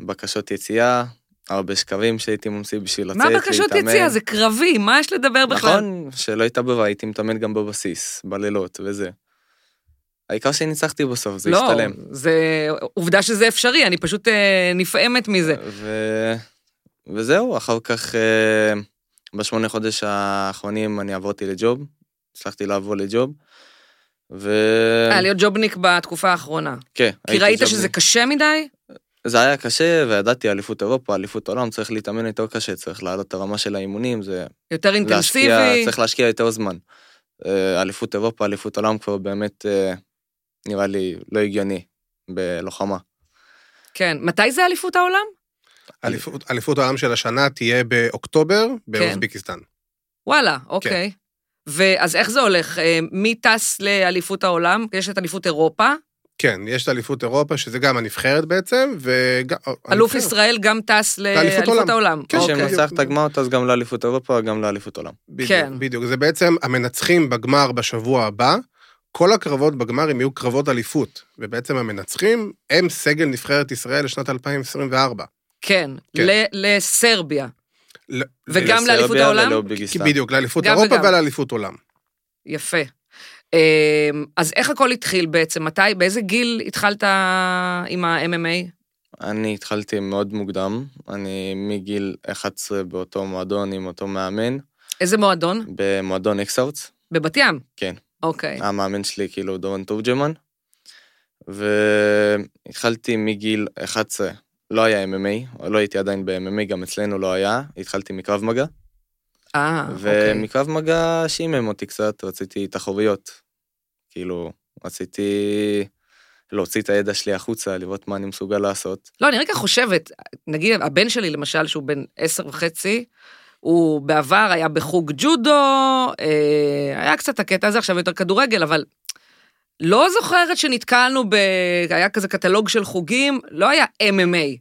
[SPEAKER 3] בקשות יציאה, הרבה שקרים שהייתי ממציא בשביל לצאת
[SPEAKER 1] מה בקשות
[SPEAKER 3] אה, להתאמן.
[SPEAKER 1] יציאה? זה קרבי, מה יש לדבר בכלל?
[SPEAKER 3] נכון, שלא התעבבה, הייתי מתאמן גם בבסיס, בלילות וזה. העיקר שניצחתי בסוף, זה
[SPEAKER 1] לא,
[SPEAKER 3] השתלם.
[SPEAKER 1] זה עובדה שזה אפשרי, אני פשוט אה, נפעמת מזה.
[SPEAKER 3] ו... וזהו, אחר כך, אה, בשמונה חודש האחרונים אני עברתי לג'וב, הצלחתי לעבור לג'וב, ו...
[SPEAKER 1] אה, להיות ג'ובניק בתקופה האחרונה.
[SPEAKER 3] כן,
[SPEAKER 1] כי
[SPEAKER 3] הייתי
[SPEAKER 1] ראית
[SPEAKER 3] ג'ובניק.
[SPEAKER 1] שזה קשה מדי?
[SPEAKER 3] זה היה קשה, וידעתי אליפות אירופה, אליפות עולם, צריך להתאמן יותר קשה, צריך להעלות את הרמה של האימונים, זה...
[SPEAKER 1] יותר
[SPEAKER 3] להשקיע,
[SPEAKER 1] אינטנסיבי?
[SPEAKER 3] צריך להשקיע יותר זמן. אה, אליפות אירופה, אליפות עולם כבר באמת אה, נראה לי לא הגיוני בלוחמה.
[SPEAKER 1] כן. מתי זה אליפות העולם?
[SPEAKER 2] אליפות, אליפות העולם של השנה תהיה באוקטובר
[SPEAKER 1] כן.
[SPEAKER 2] באוזבקיסטן.
[SPEAKER 1] וואלה,
[SPEAKER 2] כן.
[SPEAKER 1] אוקיי. ואז איך זה הולך? אה, מי טס לאליפות העולם? יש את אליפות אירופה.
[SPEAKER 2] כן, יש את אליפות אירופה, שזה גם הנבחרת בעצם, וגם... כן.
[SPEAKER 1] אלוף
[SPEAKER 2] הנבחרת.
[SPEAKER 1] ישראל גם טס
[SPEAKER 2] לאליפות
[SPEAKER 1] לאליפות
[SPEAKER 2] עולם.
[SPEAKER 1] העולם.
[SPEAKER 2] כן,
[SPEAKER 1] אוקיי.
[SPEAKER 2] שהם-
[SPEAKER 3] כשנצח את הגמר, אז גם לאליפות אירופה, גם לאליפות עולם.
[SPEAKER 2] בדיוק,
[SPEAKER 1] כן.
[SPEAKER 2] בדיוק. זה בעצם המנצחים בגמר בשבוע הבא. כל הקרבות בגמר הם יהיו קרבות אליפות, ובעצם המנצחים הם סגל נבחרת ישראל לשנת 2024.
[SPEAKER 1] כן,
[SPEAKER 2] כן.
[SPEAKER 1] ל- לסרביה.
[SPEAKER 2] ל-
[SPEAKER 1] וגם
[SPEAKER 3] לסרביה
[SPEAKER 1] לאליפות העולם?
[SPEAKER 3] ולאוביגיסטן.
[SPEAKER 2] בדיוק, לאליפות
[SPEAKER 1] גם
[SPEAKER 2] אירופה
[SPEAKER 1] וגם.
[SPEAKER 2] ולאליפות עולם.
[SPEAKER 1] יפה. אה, אז איך הכל התחיל בעצם? מתי, באיזה גיל התחלת עם ה-MMA?
[SPEAKER 3] אני התחלתי מאוד מוקדם, אני מגיל 11 באותו מועדון עם אותו מאמן,
[SPEAKER 1] איזה מועדון?
[SPEAKER 3] במועדון אקסאוטס.
[SPEAKER 1] בבת ים.
[SPEAKER 3] כן.
[SPEAKER 2] אה,
[SPEAKER 1] אוקיי.
[SPEAKER 3] המאמן שלי כאילו דורון תורג'מן. והתחלתי מגיל 11, לא היה MMA, או לא הייתי עדיין ב-MMA, גם אצלנו לא היה, התחלתי מקרב מגע,
[SPEAKER 1] אה, אוקיי.
[SPEAKER 3] ומקרב מגע שימם אותי קצת, רציתי תחרויות. כאילו, רציתי להוציא את הידע שלי החוצה, לראות מה אני מסוגל לעשות.
[SPEAKER 1] לא, אני רגע חושבת, נגיד הבן שלי למשל, שהוא בן עשר וחצי, הוא בעבר היה בחוג ג'ודו, אה, היה קצת הקטע הזה, עכשיו יותר כדורגל, אבל לא זוכרת שנתקלנו ב... היה כזה קטלוג של חוגים, לא היה MMA.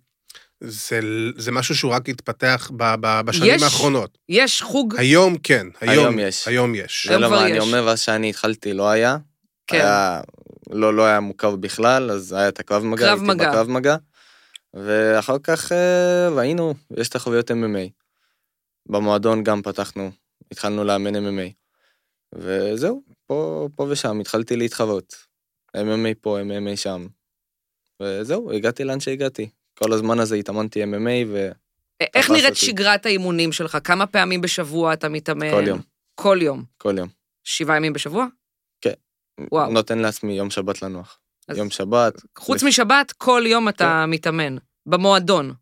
[SPEAKER 2] זה, זה משהו שהוא רק התפתח ב, ב, בשנים
[SPEAKER 1] יש-
[SPEAKER 2] האחרונות.
[SPEAKER 1] יש חוג,
[SPEAKER 2] היום כן, היום,
[SPEAKER 3] היום יש.
[SPEAKER 2] היום יש.
[SPEAKER 3] זה לא
[SPEAKER 1] כבר
[SPEAKER 3] מה אני
[SPEAKER 1] יש.
[SPEAKER 3] אומר, ואז שאני התחלתי לא היה.
[SPEAKER 1] כן.
[SPEAKER 3] היה, לא, לא היה מוכר בכלל, אז היה את הקרב מגע,
[SPEAKER 1] קרב
[SPEAKER 3] הייתי
[SPEAKER 1] מגע.
[SPEAKER 3] בקרב מגע. ואחר כך אה, ראינו, יש תחרויות MMA. במועדון גם פתחנו, התחלנו לאמן MMA. וזהו, פה, פה ושם התחלתי להתחרות. MMA פה, MMA שם. וזהו, הגעתי לאן שהגעתי. כל הזמן הזה התאמנתי MMA
[SPEAKER 1] אה, איך
[SPEAKER 3] תפס
[SPEAKER 1] נראית
[SPEAKER 3] אותי.
[SPEAKER 1] שגרת האימונים שלך? כמה פעמים בשבוע אתה מתאמן?
[SPEAKER 3] וכל יום,
[SPEAKER 1] כל יום.
[SPEAKER 3] כל יום.
[SPEAKER 1] שבעה ימים בשבוע? וואו.
[SPEAKER 3] נותן לעצמי יום שבת לנוח.
[SPEAKER 1] אז
[SPEAKER 3] יום כן. שבת,
[SPEAKER 1] חוץ משבת, כל יום אתה מתאמן. במועדון.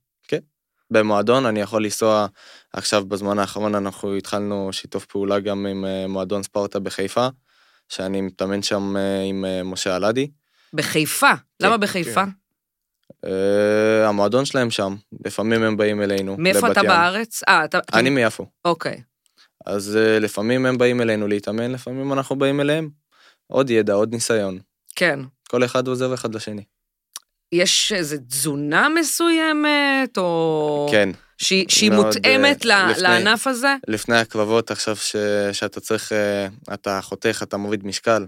[SPEAKER 3] במועדון, אני יכול לנסוע עכשיו בזמן האחרון, אנחנו התחלנו שיתוף פעולה גם עם אה, מועדון ספרטה בחיפה, שאני מתאמן שם אה, עם אה, משה אלעדי.
[SPEAKER 1] בחיפה.
[SPEAKER 3] כן,
[SPEAKER 1] למה בחיפה?
[SPEAKER 3] אה, המועדון שלהם שם, לפעמים הם באים אלינו.
[SPEAKER 1] מאיפה
[SPEAKER 3] לבת
[SPEAKER 1] אתה
[SPEAKER 3] ים.
[SPEAKER 1] בארץ? אה, אתה...
[SPEAKER 3] אני מיפו.
[SPEAKER 1] אוקיי.
[SPEAKER 3] אז אה, לפעמים הם באים אלינו להתאמן, לפעמים אנחנו באים אליהם. עוד ידע, עוד ניסיון,
[SPEAKER 1] כן.
[SPEAKER 3] כל אחד עוזר אחד לשני.
[SPEAKER 1] יש איזו תזונה מסוימת, או...
[SPEAKER 3] כן,
[SPEAKER 1] שהיא שהיא
[SPEAKER 3] מאוד,
[SPEAKER 1] מותאמת
[SPEAKER 3] אה,
[SPEAKER 1] ל-
[SPEAKER 3] לפני.
[SPEAKER 1] לענף הזה?
[SPEAKER 3] לפני הקרבות עכשיו ש... שאתה צריך, אה, אתה חותך, אתה מוריד משקל,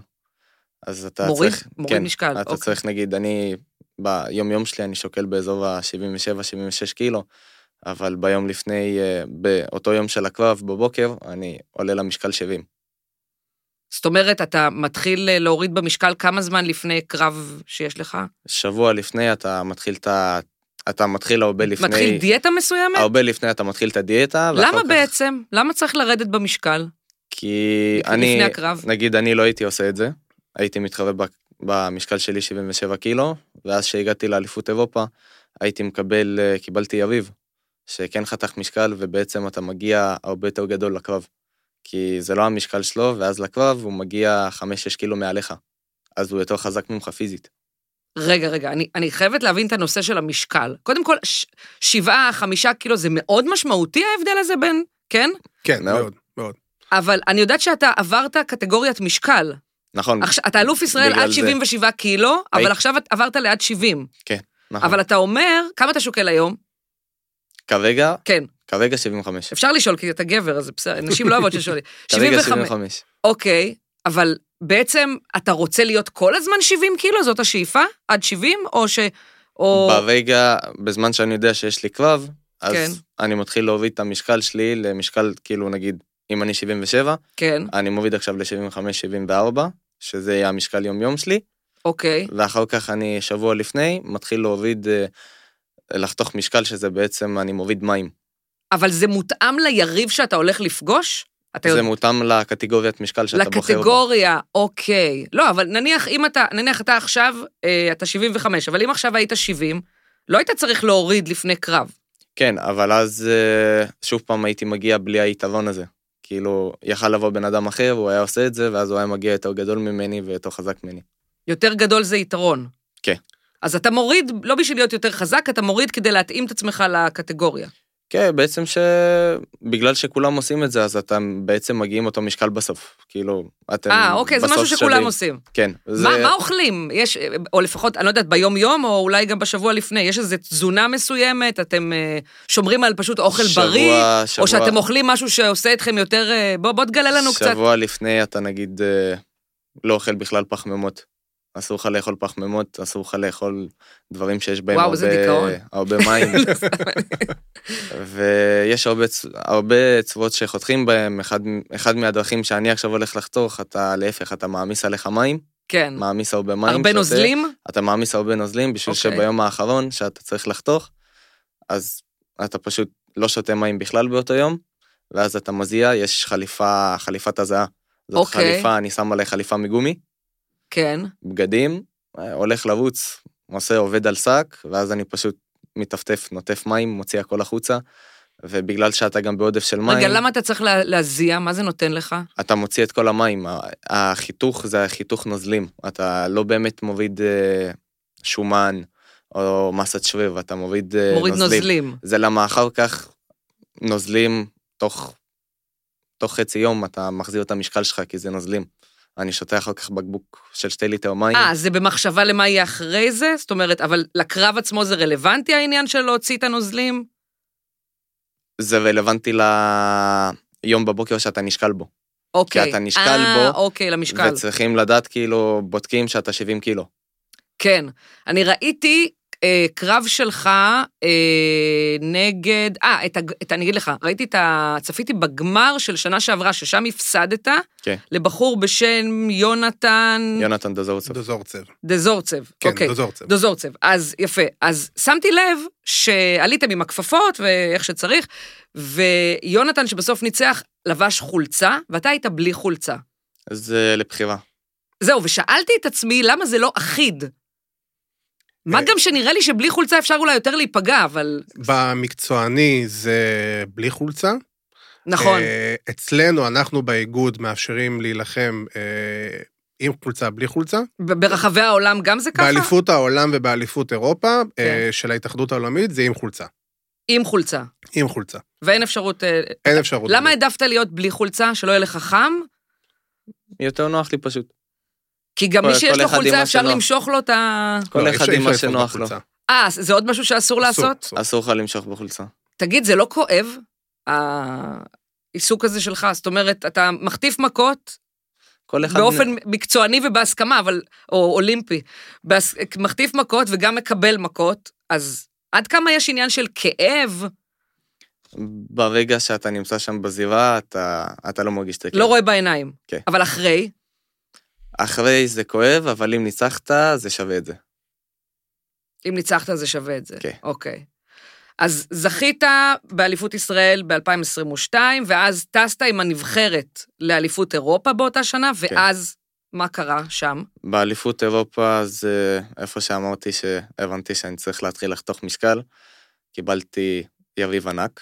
[SPEAKER 3] אז אתה
[SPEAKER 1] מוריד-
[SPEAKER 3] צריך...
[SPEAKER 1] מוריד
[SPEAKER 3] כן,
[SPEAKER 1] משקל,
[SPEAKER 3] אתה
[SPEAKER 1] אוקיי.
[SPEAKER 3] צריך, נגיד, אני, ביום יום שלי אני שוקל באזור ה-77-76 קילו, אבל ביום לפני, אה, באותו יום של הקרב, בבוקר, אני עולה למשקל 70.
[SPEAKER 1] זאת אומרת, אתה מתחיל אה, להוריד במשקל כמה זמן לפני קרב שיש לך?
[SPEAKER 3] שבוע לפני אתה מתחיל את ה... אתה מתחיל הרבה לפני...
[SPEAKER 1] מתחיל דיאטה מסוימת?
[SPEAKER 3] הרבה לפני אתה מתחיל את הדיאטה, אה, ואחר
[SPEAKER 1] למה
[SPEAKER 3] כך-
[SPEAKER 1] בעצם? למה צריך לרדת במשקל?
[SPEAKER 3] כי
[SPEAKER 1] לפני
[SPEAKER 3] אני,
[SPEAKER 1] הקרב?
[SPEAKER 3] נגיד אני לא הייתי עושה את זה, הייתי מתחבא ב- במשקל שלי 77 קילו, ואז שהגעתי לאליפות אירופה, הייתי מקבל, אה, קיבלתי יריב, שכן חתך משקל, ובעצם אתה מגיע הרבה יותר גדול לקרב. כי זה לא המשקל שלו, ואז לקרב הוא מגיע 5-6 קילו מעליך. אז הוא יותר חזק ממך פיזית.
[SPEAKER 1] רגע, רגע, אני, אני חייבת להבין את הנושא של המשקל. קודם כל, ש, שבעה, חמישה קילו, זה מאוד משמעותי ההבדל הזה בין, כן?
[SPEAKER 2] כן,
[SPEAKER 3] מאוד.
[SPEAKER 2] מאוד, מאוד.
[SPEAKER 1] אבל אני יודעת שאתה עברת קטגוריית משקל.
[SPEAKER 3] נכון,
[SPEAKER 1] עכשיו, אתה אלוף ישראל
[SPEAKER 3] בגלל
[SPEAKER 1] עד
[SPEAKER 3] זה.
[SPEAKER 1] 77 קילו, אבל
[SPEAKER 3] היי.
[SPEAKER 1] עכשיו את- עברת לעד 70.
[SPEAKER 3] נכון.
[SPEAKER 1] אבל אתה אומר, כמה אתה שוקל היום?
[SPEAKER 3] כרגע,
[SPEAKER 1] כן,
[SPEAKER 3] כרגע 75.
[SPEAKER 1] אפשר לשאול, כי אתה גבר, אז בסדר, נשים לא אוהבות ששואלים.
[SPEAKER 3] כרגע
[SPEAKER 1] 75.
[SPEAKER 3] 75.
[SPEAKER 1] אוקיי, אבל בעצם אתה רוצה להיות כל הזמן 70 קילו? זאת השאיפה? עד 70? או ש... או...
[SPEAKER 3] ברגע, בזמן שאני יודע שיש לי קרב, אז
[SPEAKER 1] כן.
[SPEAKER 3] אני מתחיל להוריד את המשקל שלי למשקל, כאילו נגיד, אם אני 77,
[SPEAKER 1] כן,
[SPEAKER 3] אני מוריד עכשיו ל-75-74, שזה יהיה המשקל יום-יום שלי,
[SPEAKER 1] אוקיי.
[SPEAKER 3] ואחר כך אני, שבוע לפני, מתחיל להוריד, אה, לחתוך משקל, שזה בעצם, אני מוריד מים.
[SPEAKER 1] אבל זה מותאם ליריב שאתה הולך לפגוש? אתה
[SPEAKER 3] זה
[SPEAKER 1] יודע,
[SPEAKER 3] מותאם לקטגוריית משקל שאתה בוחר בה.
[SPEAKER 1] לקטגוריה, אוקיי. לא, אבל נניח אם אתה, נניח אתה עכשיו, אה, אתה 75, אבל אם עכשיו היית 70, לא היית צריך להוריד לפני קרב.
[SPEAKER 3] כן, אבל אז אה, שוב פעם הייתי מגיע בלי היתרון הזה. כאילו, יכל לבוא בן אדם אחר, הוא היה עושה את זה, ואז הוא היה מגיע יותר גדול ממני ויותר חזק ממני.
[SPEAKER 1] יותר גדול זה יתרון.
[SPEAKER 3] כן.
[SPEAKER 1] אז אתה מוריד, לא בשביל להיות יותר חזק, אתה מוריד כדי להתאים את עצמך לקטגוריה.
[SPEAKER 3] כן, בעצם שבגלל שכולם עושים את זה, אז אתה בעצם מגיעים אותו משקל בסוף. כאילו, אתם
[SPEAKER 1] אה, אוקיי, זה
[SPEAKER 3] בסוף
[SPEAKER 1] משהו שכולם
[SPEAKER 3] שווים.
[SPEAKER 1] עושים.
[SPEAKER 3] כן.
[SPEAKER 1] זה... מה, מה אוכלים? יש, אה, או לפחות, אני לא יודעת, ביום-יום, או אולי גם בשבוע לפני, יש איזו תזונה מסוימת, אתם אה, שומרים על פשוט אוכל
[SPEAKER 3] שבוע-
[SPEAKER 1] בריא?
[SPEAKER 3] שבוע-
[SPEAKER 1] או שאתם אוכלים משהו שעושה אתכם יותר... אה, בוא, בוא תגלה לנו קצת.
[SPEAKER 3] שבוע לפני אתה נגיד אה, לא אוכל בכלל פחמימות. אסור לך לאכול פחמימות, אסור לך לאכול דברים שיש בהם
[SPEAKER 1] וואו,
[SPEAKER 3] הרבה,
[SPEAKER 1] איזה דיכאון. לא,
[SPEAKER 3] הרבה מים. ויש הרבה, צ- הרבה צורות שחותכים בהם, אחד, אחד מהדרכים שאני עכשיו הולך לחתוך, אתה להפך, אתה מעמיס עליך מים,
[SPEAKER 1] כן.
[SPEAKER 3] מעמיס הרבה מים.
[SPEAKER 1] הרבה
[SPEAKER 3] שותה,
[SPEAKER 1] נוזלים?
[SPEAKER 3] אתה מעמיס הרבה נוזלים בשביל
[SPEAKER 1] אוקיי.
[SPEAKER 3] okay. שביום האחרון שאתה צריך לחתוך, אז אתה פשוט לא שותה מים בכלל באותו יום, ואז אתה מזיע, יש חליפה, חליפת הזעה. זאת okay.
[SPEAKER 1] אוקיי.
[SPEAKER 3] חליפה, אני שם עליה חליפה מגומי,
[SPEAKER 1] כן.
[SPEAKER 3] בגדים, אה, הולך לרוץ, עושה עובד על שק, ואז אני פשוט מטפטף, נוטף מים, מוציא הכל החוצה, ובגלל שאתה גם בעודף של מים,
[SPEAKER 1] רגע, למה אתה צריך לה- להזיע? מה זה נותן לך?
[SPEAKER 3] אתה מוציא את כל המים, ה- החיתוך זה חיתוך נוזלים, אתה לא באמת מוריד אה, שומן או מסת שריר, אתה מוריד, אה,
[SPEAKER 1] מוריד
[SPEAKER 3] נוזלים.
[SPEAKER 1] נוזלים.
[SPEAKER 3] זה למה אחר כך נוזלים תוך, תוך חצי יום אתה מחזיר את המשקל שלך, כי זה נוזלים. אני שותה אחר כך בקבוק של שתי ליטר מים.
[SPEAKER 1] אה, זה במחשבה למה יהיה אחרי זה? זאת אומרת, אבל לקרב עצמו זה רלוונטי העניין של להוציא את הנוזלים?
[SPEAKER 3] זה רלוונטי ליום בבוקר שאתה נשקל בו.
[SPEAKER 1] אוקיי.
[SPEAKER 3] אתה נשקל
[SPEAKER 1] אה,
[SPEAKER 3] בו,
[SPEAKER 1] אוקיי, למשקל.
[SPEAKER 3] וצריכים לדעת, כאילו, בודקים שאתה 70 קילו.
[SPEAKER 1] כן. אני ראיתי אה, קרב שלך אה, נגד... אה, את הג- את- אני אגיד לך, ראיתי את ה... צפיתי בגמר של שנה שעברה, ששם הפסדת,
[SPEAKER 3] כן.
[SPEAKER 1] לבחור בשם יונתן
[SPEAKER 3] יונתן דוזורצוב.
[SPEAKER 2] דוזורצב.
[SPEAKER 1] דזורצב.
[SPEAKER 2] כן,
[SPEAKER 1] אוקיי.
[SPEAKER 2] דוזורצב.
[SPEAKER 1] דוזורצב. אז יפה. אז שמתי לב שעליתם עם הכפפות ואיך שצריך, ויונתן שבסוף ניצח לבש חולצה, ואתה היית בלי חולצה.
[SPEAKER 3] זה לבחירה.
[SPEAKER 1] זהו, ושאלתי את עצמי למה זה לא אחיד. מה
[SPEAKER 2] אה.
[SPEAKER 1] גם שנראה לי שבלי חולצה אפשר אולי יותר להיפגע, אבל
[SPEAKER 2] במקצועני זה בלי חולצה.
[SPEAKER 1] נכון.
[SPEAKER 2] אה, אצלנו, אנחנו באיגוד מאפשרים להילחם אה, עם חולצה, בלי חולצה.
[SPEAKER 1] ב- ברחבי העולם גם זה ככה?
[SPEAKER 2] באליפות העולם ובאליפות אירופה
[SPEAKER 1] כן.
[SPEAKER 2] אה, של ההתאחדות העולמית זה עם חולצה.
[SPEAKER 1] עם חולצה.
[SPEAKER 2] עם חולצה.
[SPEAKER 1] ואין אפשרות... אה,
[SPEAKER 2] אין אפשרות.
[SPEAKER 3] לא.
[SPEAKER 1] למה העדפת להיות בלי חולצה, שלא יהיה לך חם?
[SPEAKER 3] יותר נוח לי פשוט.
[SPEAKER 1] כי גם מי
[SPEAKER 3] לא, כל-
[SPEAKER 1] שיש
[SPEAKER 3] כל
[SPEAKER 1] לו
[SPEAKER 3] אחד עם
[SPEAKER 1] חולצה,
[SPEAKER 3] מה
[SPEAKER 1] אפשר
[SPEAKER 3] שלו.
[SPEAKER 1] למשוך לו את ה...
[SPEAKER 3] כל
[SPEAKER 2] לא, אי
[SPEAKER 3] אחד
[SPEAKER 2] אפשר-
[SPEAKER 3] עם מה
[SPEAKER 2] אי אפשר לפתוח
[SPEAKER 3] שנוח לו.
[SPEAKER 2] בחולצה.
[SPEAKER 1] אה, זה עוד משהו שאסור לעשות?
[SPEAKER 2] אסור, אסור.
[SPEAKER 3] אסור לך למשוך בחולצה.
[SPEAKER 1] תגיד, זה לא כואב, העיסוק הזה שלך? זאת אומרת, אתה מחטיף מכות
[SPEAKER 3] כל אחד...
[SPEAKER 1] באופן מקצועני ובהסכמה, אבל, או אולימפי, בהס... מחטיף מכות וגם מקבל מכות, אז עד כמה יש עניין של כאב?
[SPEAKER 3] ברגע שאתה נמצא שם בזירה, אתה, אתה לא מרגיש את הכאב.
[SPEAKER 1] לא רואה בעיניים.
[SPEAKER 3] כן.
[SPEAKER 1] אבל אחרי,
[SPEAKER 3] אחרי זה כואב, אבל אם ניצחת, זה שווה את זה.
[SPEAKER 1] אם ניצחת זה שווה את זה.
[SPEAKER 3] כן.
[SPEAKER 1] אוקיי. אז זכית באליפות ישראל ב-2022, ואז טסת עם הנבחרת לאליפות אירופה באותה שנה,
[SPEAKER 3] כן.
[SPEAKER 1] ואז מה קרה שם?
[SPEAKER 3] באליפות אירופה זה איפה שאמרתי שהבנתי שאני צריך להתחיל לחתוך משקל. קיבלתי יריב ענק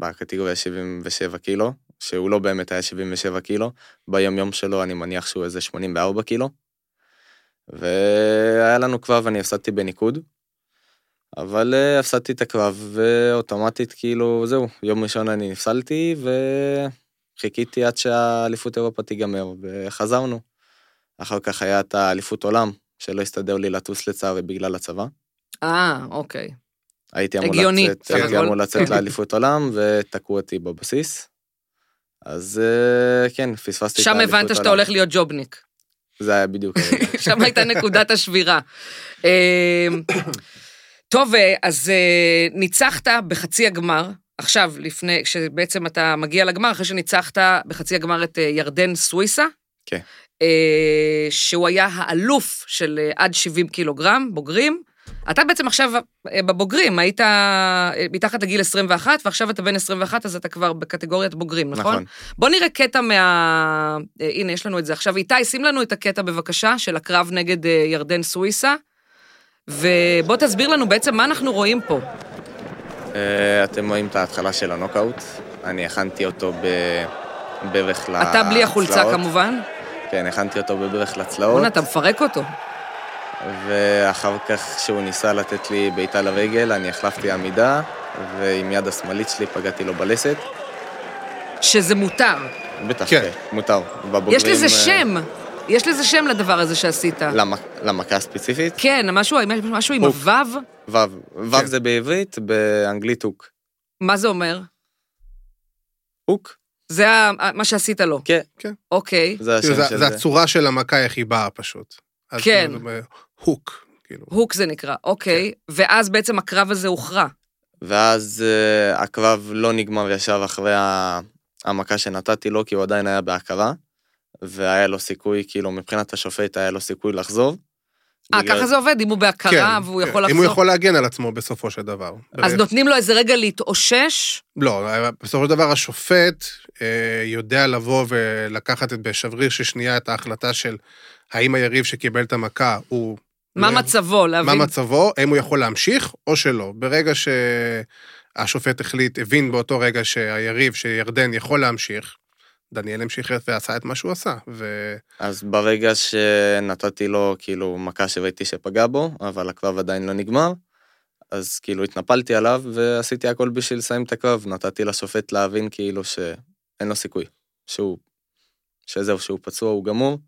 [SPEAKER 3] בקטגוריה 77 קילו, שהוא לא באמת היה 77 קילו, ביום יום שלו אני מניח שהוא איזה 84 קילו. והיה לנו קרב, אני הפסדתי בניקוד, אבל אה, הפסדתי את הקרב, ואוטומטית כאילו זהו, יום ראשון אני נפסלתי, וחיכיתי עד שהאליפות אירופה תיגמר, וחזרנו. אחר כך היה את האליפות עולם, שלא הסתדר לי לטוס לצערי בגלל הצבא.
[SPEAKER 1] אה, אוקיי.
[SPEAKER 3] הייתי אמור
[SPEAKER 1] הגיוני,
[SPEAKER 3] לצאת,
[SPEAKER 1] סך
[SPEAKER 3] הייתי
[SPEAKER 1] הכל.
[SPEAKER 3] אמור לצאת לאליפות עולם, ותקעו אותי בבסיס. אז אה, כן, פספסתי את
[SPEAKER 1] שם
[SPEAKER 3] האליפות
[SPEAKER 1] הבנת שאתה
[SPEAKER 3] עולם.
[SPEAKER 1] הולך להיות ג'ובניק.
[SPEAKER 3] זה היה בדיוק. הרגע.
[SPEAKER 1] שם הייתה נקודת השבירה. אמ, טוב, אה, אז אה, ניצחת בחצי הגמר, עכשיו, לפני, כשבעצם אתה מגיע לגמר, אחרי שניצחת בחצי הגמר את אה, ירדן סוויסה.
[SPEAKER 3] כן.
[SPEAKER 1] אה, שהוא היה האלוף של אה, עד 70 קילוגרם, בוגרים. אתה בעצם עכשיו אה, בבוגרים, היית אה, מתחת לגיל 21, ועכשיו אתה בן 21, אז אתה כבר בקטגוריית בוגרים, נכון?
[SPEAKER 3] נכון.
[SPEAKER 1] בוא נראה קטע מה... אה, הנה, יש לנו את זה עכשיו. איתי, שים לנו את הקטע בבקשה, של הקרב נגד אה, ירדן סוויסה, ובוא תסביר לנו בעצם מה אנחנו רואים פה.
[SPEAKER 3] אה, אתם רואים את ההתחלה של הנוקאוט, אני הכנתי אותו ב- בברך לצלעות.
[SPEAKER 1] אתה בלי החולצה כמובן.
[SPEAKER 3] כן, הכנתי אותו בברך לצלעות.
[SPEAKER 1] בואנה, אתה מפרק אותו.
[SPEAKER 3] ואחר כך, כשהוא ניסה לתת לי בעיטה לרגל, אני החלפתי עמידה, ועם יד השמאלית שלי פגעתי לו בלסת.
[SPEAKER 1] שזה מותר.
[SPEAKER 3] בטח,
[SPEAKER 2] כן.
[SPEAKER 3] כן. מותר. בבוגרים,
[SPEAKER 1] יש לזה
[SPEAKER 3] אה,
[SPEAKER 1] שם. יש לזה שם לדבר הזה שעשית.
[SPEAKER 2] לא.
[SPEAKER 3] למכ- למכה הספציפית.
[SPEAKER 1] כן, משהו משהו עם
[SPEAKER 3] הוק.
[SPEAKER 1] הוו,
[SPEAKER 3] וו.
[SPEAKER 2] כן.
[SPEAKER 3] וו זה בעברית, באנגלית הוק.
[SPEAKER 1] מה זה אומר?
[SPEAKER 3] הוק?
[SPEAKER 1] זה ה- מה שעשית לו.
[SPEAKER 3] כן.
[SPEAKER 2] כן.
[SPEAKER 1] אוקיי.
[SPEAKER 3] זה השם
[SPEAKER 2] כאילו, זה-
[SPEAKER 3] של
[SPEAKER 2] זה
[SPEAKER 3] זה.
[SPEAKER 2] הצורה של המכה איך היא באה פשוט. אז
[SPEAKER 1] כן.
[SPEAKER 2] כאילו, זה הוק, כאילו.
[SPEAKER 1] הוק זה נקרא, אוקיי.
[SPEAKER 2] כן.
[SPEAKER 1] ואז בעצם הקרב הזה הוכרע. אה,
[SPEAKER 3] ואז אה, הקרב לא נגמר ישר אחרי ה- המכה שנתתי לו, כי הוא עדיין היה בהכרה, והיה לו סיכוי, כאילו, מבחינת השופט היה לו סיכוי לחזור.
[SPEAKER 1] אה,
[SPEAKER 3] בגלל-
[SPEAKER 1] ככה זה עובד, אם הוא בהכרה
[SPEAKER 2] כן,
[SPEAKER 1] והוא
[SPEAKER 2] כן.
[SPEAKER 1] יכול לחזור.
[SPEAKER 2] אם הוא יכול להגן על עצמו בסופו של דבר.
[SPEAKER 1] אז
[SPEAKER 2] ב-
[SPEAKER 1] נותנים לו איזה רגע להתאושש,
[SPEAKER 2] לא, בסופו של דבר השופט אה, יודע לבוא ולקחת את- בשבריר של שנייה את ההחלטה של האם היריב שקיבל את המכה הוא...
[SPEAKER 1] מה
[SPEAKER 2] לא-
[SPEAKER 1] מצבו,
[SPEAKER 2] מה
[SPEAKER 1] להבין.
[SPEAKER 2] מצבו, האם הוא יכול להמשיך או שלא. ברגע שהשופט החליט, הבין באותו רגע שהיריב, שירדן יכול להמשיך, דניאל המשיך ועשה את מה שהוא עשה. ו...
[SPEAKER 3] אז ברגע שנתתי לו, כאילו, מכה שראיתי שפגע בו, אבל הקרב עדיין לא נגמר, אז כאילו התנפלתי עליו, ועשיתי הכל בשביל לסיים את הקרב. נתתי לשופט להבין, כאילו, שאין לו סיכוי. שהוא... שזהו, שהוא פצוע, הוא גמור.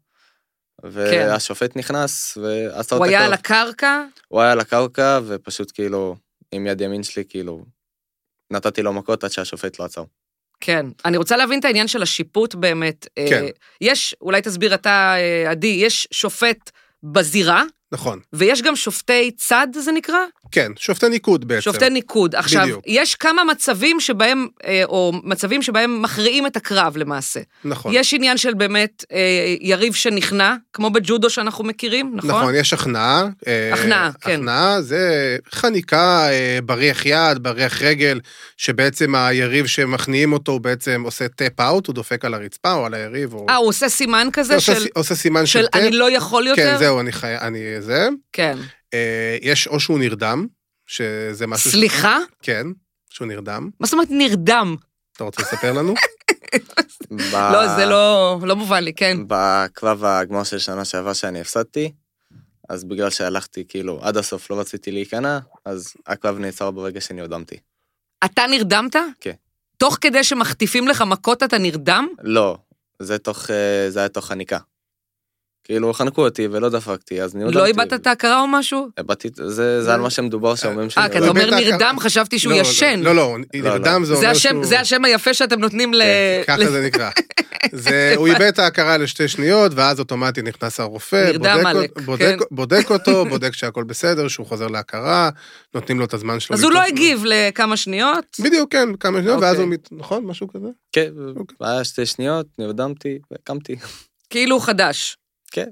[SPEAKER 3] והשופט נכנס, ועשה את הקרב.
[SPEAKER 1] כן. הוא היה על הקרקע,
[SPEAKER 3] הוא היה על הקרקע, ופשוט כאילו, עם יד ימין שלי, כאילו, נתתי לו מכות עד שהשופט לא עצר.
[SPEAKER 1] כן. אני רוצה להבין את העניין של השיפוט באמת. אה,
[SPEAKER 2] כן.
[SPEAKER 1] יש, אולי תסביר אתה, אה, עדי, יש שופט בזירה,
[SPEAKER 2] נכון,
[SPEAKER 1] ויש גם שופטי צד, זה נקרא?
[SPEAKER 2] כן, שופטי ניקוד בעצם.
[SPEAKER 1] שופטי ניקוד. עכשיו,
[SPEAKER 2] בדיוק.
[SPEAKER 1] יש כמה מצבים שבהם, אה, או מצבים שבהם מכריעים את הקרב למעשה.
[SPEAKER 2] נכון.
[SPEAKER 1] יש עניין של באמת אה, יריב שנכנע, כמו בג'ודו שאנחנו מכירים, נכון?
[SPEAKER 2] נכון, יש הכנעה. אה,
[SPEAKER 1] הכנעה, כן.
[SPEAKER 2] הכנעה זה חניקה, אה, בריח יד, בריח רגל, שבעצם היריב שמכניעים אותו, הוא בעצם עושה טאפ אאוט, הוא דופק על הרצפה או על היריב. או...
[SPEAKER 1] אה, הוא עושה סימן כזה
[SPEAKER 2] עושה,
[SPEAKER 1] של...
[SPEAKER 2] סי- עושה סימן של,
[SPEAKER 1] של
[SPEAKER 2] טאפ.
[SPEAKER 1] אני לא יכול יותר?
[SPEAKER 2] כן, זהו, אני חי... אני זה.
[SPEAKER 1] כן.
[SPEAKER 2] אה, יש או שהוא נרדם, שזה משהו... ש-
[SPEAKER 1] סליחה?
[SPEAKER 2] כן, שהוא נרדם.
[SPEAKER 1] מה זאת אומרת נרדם?
[SPEAKER 2] אתה רוצה לספר לנו?
[SPEAKER 3] ב...
[SPEAKER 2] אה.
[SPEAKER 1] לא, זה לא, לא מובן לי, כן.
[SPEAKER 3] בקרב הגמר של שנה שעברה שאני הפסדתי, אז בגלל שהלכתי, כאילו, עד הסוף לא רציתי להיכנע, אז הקרב נעצר ברגע שנרדמתי.
[SPEAKER 1] אתה נרדמת?
[SPEAKER 3] כן.
[SPEAKER 1] תוך כדי שמחטיפים לך מכות אתה נרדם?
[SPEAKER 3] לא, זה תוך... אה, זה היה תוך חניקה. כאילו חנקו אותי ולא דפקתי, אז נרדמתי.
[SPEAKER 1] לא איבדת את ההכרה או משהו?
[SPEAKER 3] איבדתי, זה זה על מה שמדובר שאומרים
[SPEAKER 1] אה, כי
[SPEAKER 2] לא
[SPEAKER 1] אתה אומר
[SPEAKER 2] איבדת הכרה.
[SPEAKER 1] נרדם, חשבתי שהוא
[SPEAKER 2] לא,
[SPEAKER 1] ישן.
[SPEAKER 2] לא, לא,
[SPEAKER 3] לא, לא.
[SPEAKER 2] נרדם
[SPEAKER 1] זה
[SPEAKER 2] זה אומר
[SPEAKER 1] השם-
[SPEAKER 2] שהוא... כן,
[SPEAKER 1] זה השם היפה שאתם נותנים ל...
[SPEAKER 2] ככה זה נקרא. זה, הוא איבד את ההכרה לשתי שניות, ואז אוטומטית נכנס הרופא,
[SPEAKER 1] נרדם
[SPEAKER 2] בודק,
[SPEAKER 1] עלק,
[SPEAKER 2] אות- בודק,
[SPEAKER 1] כן.
[SPEAKER 2] בודק אותו, בודק שהכל בסדר, שהוא חוזר להכרה, נותנים לו את הזמן שלו.
[SPEAKER 1] אז הוא לא
[SPEAKER 2] לבדוק.
[SPEAKER 1] הגיב לכמה שניות.
[SPEAKER 2] בדיוק, כן, כמה שניות, ואז
[SPEAKER 1] אוקיי.
[SPEAKER 2] הוא, מת- נכון, משהו כזה?
[SPEAKER 3] כן,
[SPEAKER 2] אוקיי.
[SPEAKER 3] היה שתי שניות, נרדמתי וקמתי.
[SPEAKER 1] כאילו הוא חדש.
[SPEAKER 3] כן.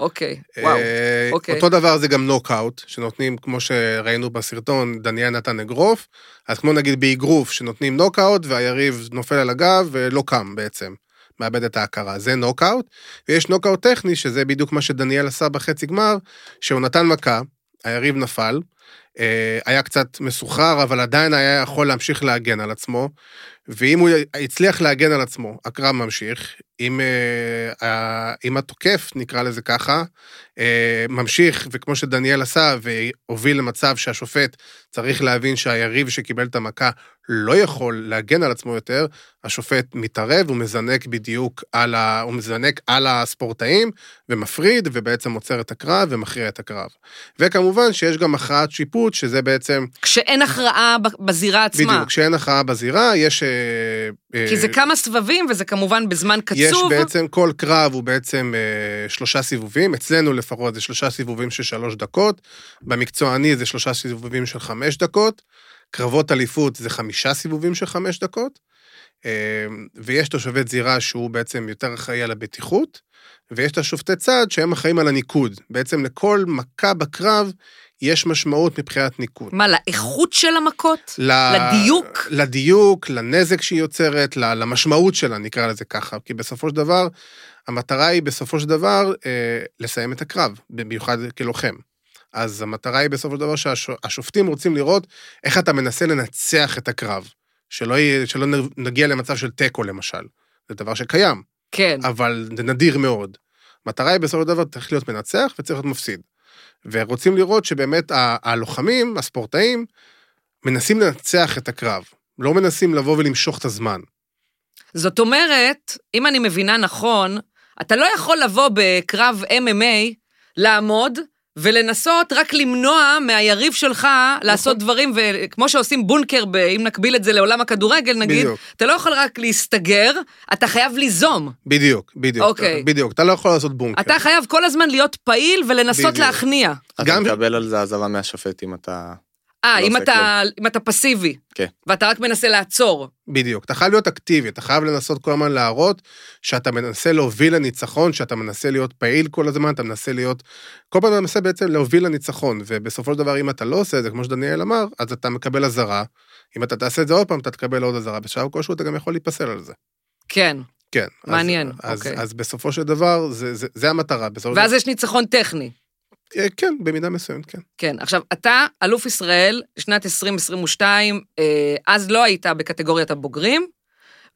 [SPEAKER 1] אוקיי, וואו.
[SPEAKER 2] אה,
[SPEAKER 1] אוקיי.
[SPEAKER 2] אותו דבר זה גם נוקאוט, שנותנים, כמו שראינו בסרטון, דניאל נתן אגרוף, אז כמו נגיד באגרוף, שנותנים נוקאוט, והיריב נופל על הגב ולא קם בעצם, מאבד את ההכרה. זה נוקאוט, ויש נוקאוט טכני, שזה בדיוק מה שדניאל עשה בחצי גמר, שהוא נתן מכה, היריב נפל, אה, היה קצת מסוחרר, אבל עדיין היה יכול להמשיך להגן על עצמו, ואם הוא הצליח להגן על עצמו, הקרב ממשיך. אם, אה, ה- אם התוקף, נקרא לזה ככה, אה, ממשיך, וכמו שדניאל עשה, והוביל למצב שהשופט צריך להבין שהיריב שקיבל את המכה לא יכול להגן על עצמו יותר, השופט מתערב, הוא מזנק בדיוק על, ה... הוא מזנק על הספורטאים, ומפריד, ובעצם עוצר את הקרב ומכריע את הקרב. וכמובן שיש גם הכרעת שיפוט, שזה בעצם,
[SPEAKER 1] כשאין הכרעה ב- בזירה עצמה.
[SPEAKER 2] בדיוק, כשאין הכרעה בזירה, יש... אה, אה,
[SPEAKER 1] כי זה כמה סבבים, וזה כמובן בזמן
[SPEAKER 2] יש
[SPEAKER 1] קצוב.
[SPEAKER 2] בעצם, כל קרב הוא בעצם אה, שלושה סיבובים, אצלנו לפחות זה שלושה סיבובים של שלוש דקות, במקצועני זה שלושה סיבובים של חמש דקות, קרבות אליפות זה חמישה סיבובים של חמש דקות, אה, ויש תושבי זירה שהוא בעצם יותר אחראי על הבטיחות, ויש את השופטי צד שהם אחראים על הניקוד. בעצם לכל מכה בקרב יש משמעות מבחינת ניקוד.
[SPEAKER 1] מה, לאיכות של המכות?
[SPEAKER 2] ל...
[SPEAKER 1] לדיוק?
[SPEAKER 2] לדיוק, לנזק שהיא יוצרת, ל- למשמעות שלה, נקרא לזה ככה. כי בסופו של דבר, המטרה היא בסופו של דבר אה, לסיים את הקרב, במיוחד כלוחם. אז המטרה היא בסופו של דבר שהשופטים רוצים לראות איך אתה מנסה לנצח את הקרב. שלא, יהיה, שלא נ- נגיע למצב של תיקו למשל. זה דבר שקיים,
[SPEAKER 1] כן.
[SPEAKER 2] אבל זה נדיר מאוד. המטרה היא בסופו של דבר, צריך להיות מנצח וצריך להיות מפסיד. ורוצים לראות שבאמת ה- הלוחמים, הספורטאים, מנסים לנצח את הקרב. לא מנסים לבוא ולמשוך את הזמן.
[SPEAKER 1] זאת אומרת, אם אני מבינה נכון, אתה לא יכול לבוא בקרב MMA, לעמוד ולנסות רק למנוע מהיריב שלך לעשות
[SPEAKER 3] נכון.
[SPEAKER 1] דברים, וכמו שעושים בונקר, ב- אם נקביל את זה לעולם הכדורגל נגיד,
[SPEAKER 2] בדיוק.
[SPEAKER 1] אתה לא יכול רק להסתגר, אתה חייב ליזום.
[SPEAKER 2] בדיוק, בדיוק.
[SPEAKER 1] אוקיי.
[SPEAKER 2] בדיוק, אתה לא יכול לעשות בונקר.
[SPEAKER 3] אוקיי.
[SPEAKER 1] אתה חייב כל הזמן להיות פעיל ולנסות
[SPEAKER 2] בדיוק.
[SPEAKER 1] להכניע.
[SPEAKER 3] אתה
[SPEAKER 2] גם-
[SPEAKER 3] מקבל על זה עזבה מהשופט אם אתה...
[SPEAKER 1] אה,
[SPEAKER 3] לא
[SPEAKER 1] אם
[SPEAKER 3] עושה
[SPEAKER 1] אתה- אם אתה פסיבי.
[SPEAKER 3] כן.
[SPEAKER 1] ואתה רק מנסה לעצור.
[SPEAKER 2] בדיוק. אתה חייב להיות אקטיבי, אתה חייב לנסות כל הזמן להראות שאתה מנסה להוביל לניצחון, שאתה מנסה להיות פעיל כל הזמן, אתה מנסה להיות... כל פעם אתה מנסה בעצם להוביל לניצחון, ובסופו של דבר, אם אתה לא עושה את זה, כמו שדניאל אמר, אז אתה מקבל אזהרה. אם אתה תעשה את זה עוד פעם, אתה תקבל עוד אזהרה. בשלב כלשהו אתה גם יכול להיפסל על זה.
[SPEAKER 1] כן.
[SPEAKER 3] אוקיי.
[SPEAKER 2] כן. אז-
[SPEAKER 1] מעניין,
[SPEAKER 2] אז,
[SPEAKER 1] אוקיי.
[SPEAKER 2] אז בסופו של דבר, זה, זה, זה המטרה. בסופו של
[SPEAKER 1] ואז יש ניצחון טכני.
[SPEAKER 2] אה, כן, במידה מסוימת, כן.
[SPEAKER 1] כן, עכשיו, אתה אלוף ישראל, שנת 2022, אה, אז לא היית בקטגוריית הבוגרים,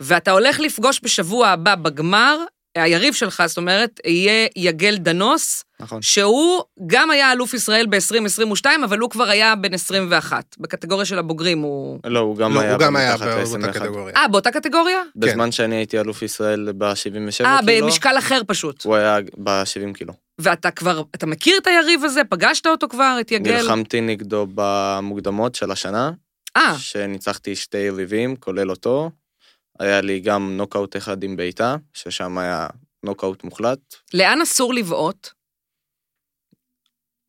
[SPEAKER 1] ואתה הולך לפגוש בשבוע הבא בגמר, היריב שלך, זאת אומרת, יהיה יגל דנוס,
[SPEAKER 3] נכון.
[SPEAKER 1] שהוא גם היה אלוף ישראל ב-2022, אבל הוא כבר היה בן 21. בקטגוריה של הבוגרים הוא...
[SPEAKER 3] לא, הוא גם
[SPEAKER 2] לא,
[SPEAKER 3] היה...
[SPEAKER 2] הוא גם היה
[SPEAKER 3] מתחת
[SPEAKER 2] באותה
[SPEAKER 3] ל- 21.
[SPEAKER 2] קטגוריה. כן.
[SPEAKER 1] אה, באותה קטגוריה?
[SPEAKER 3] בזמן שאני הייתי אלוף ישראל כאילו, ב-77
[SPEAKER 1] אה,
[SPEAKER 3] קילו,
[SPEAKER 1] במשקל אחר פשוט.
[SPEAKER 3] הוא היה ב-70 קילו.
[SPEAKER 1] ואתה כבר, אתה מכיר את היריב הזה? פגשת אותו כבר, את יגל?
[SPEAKER 3] נלחמתי נגדו במוקדמות של השנה,
[SPEAKER 1] אה,
[SPEAKER 3] שניצחתי שתי יריבים, כולל אותו. היה לי גם נוקאוט אחד עם בעיטה, ששם היה נוקאוט מוחלט.
[SPEAKER 1] לאן אסור לבעוט?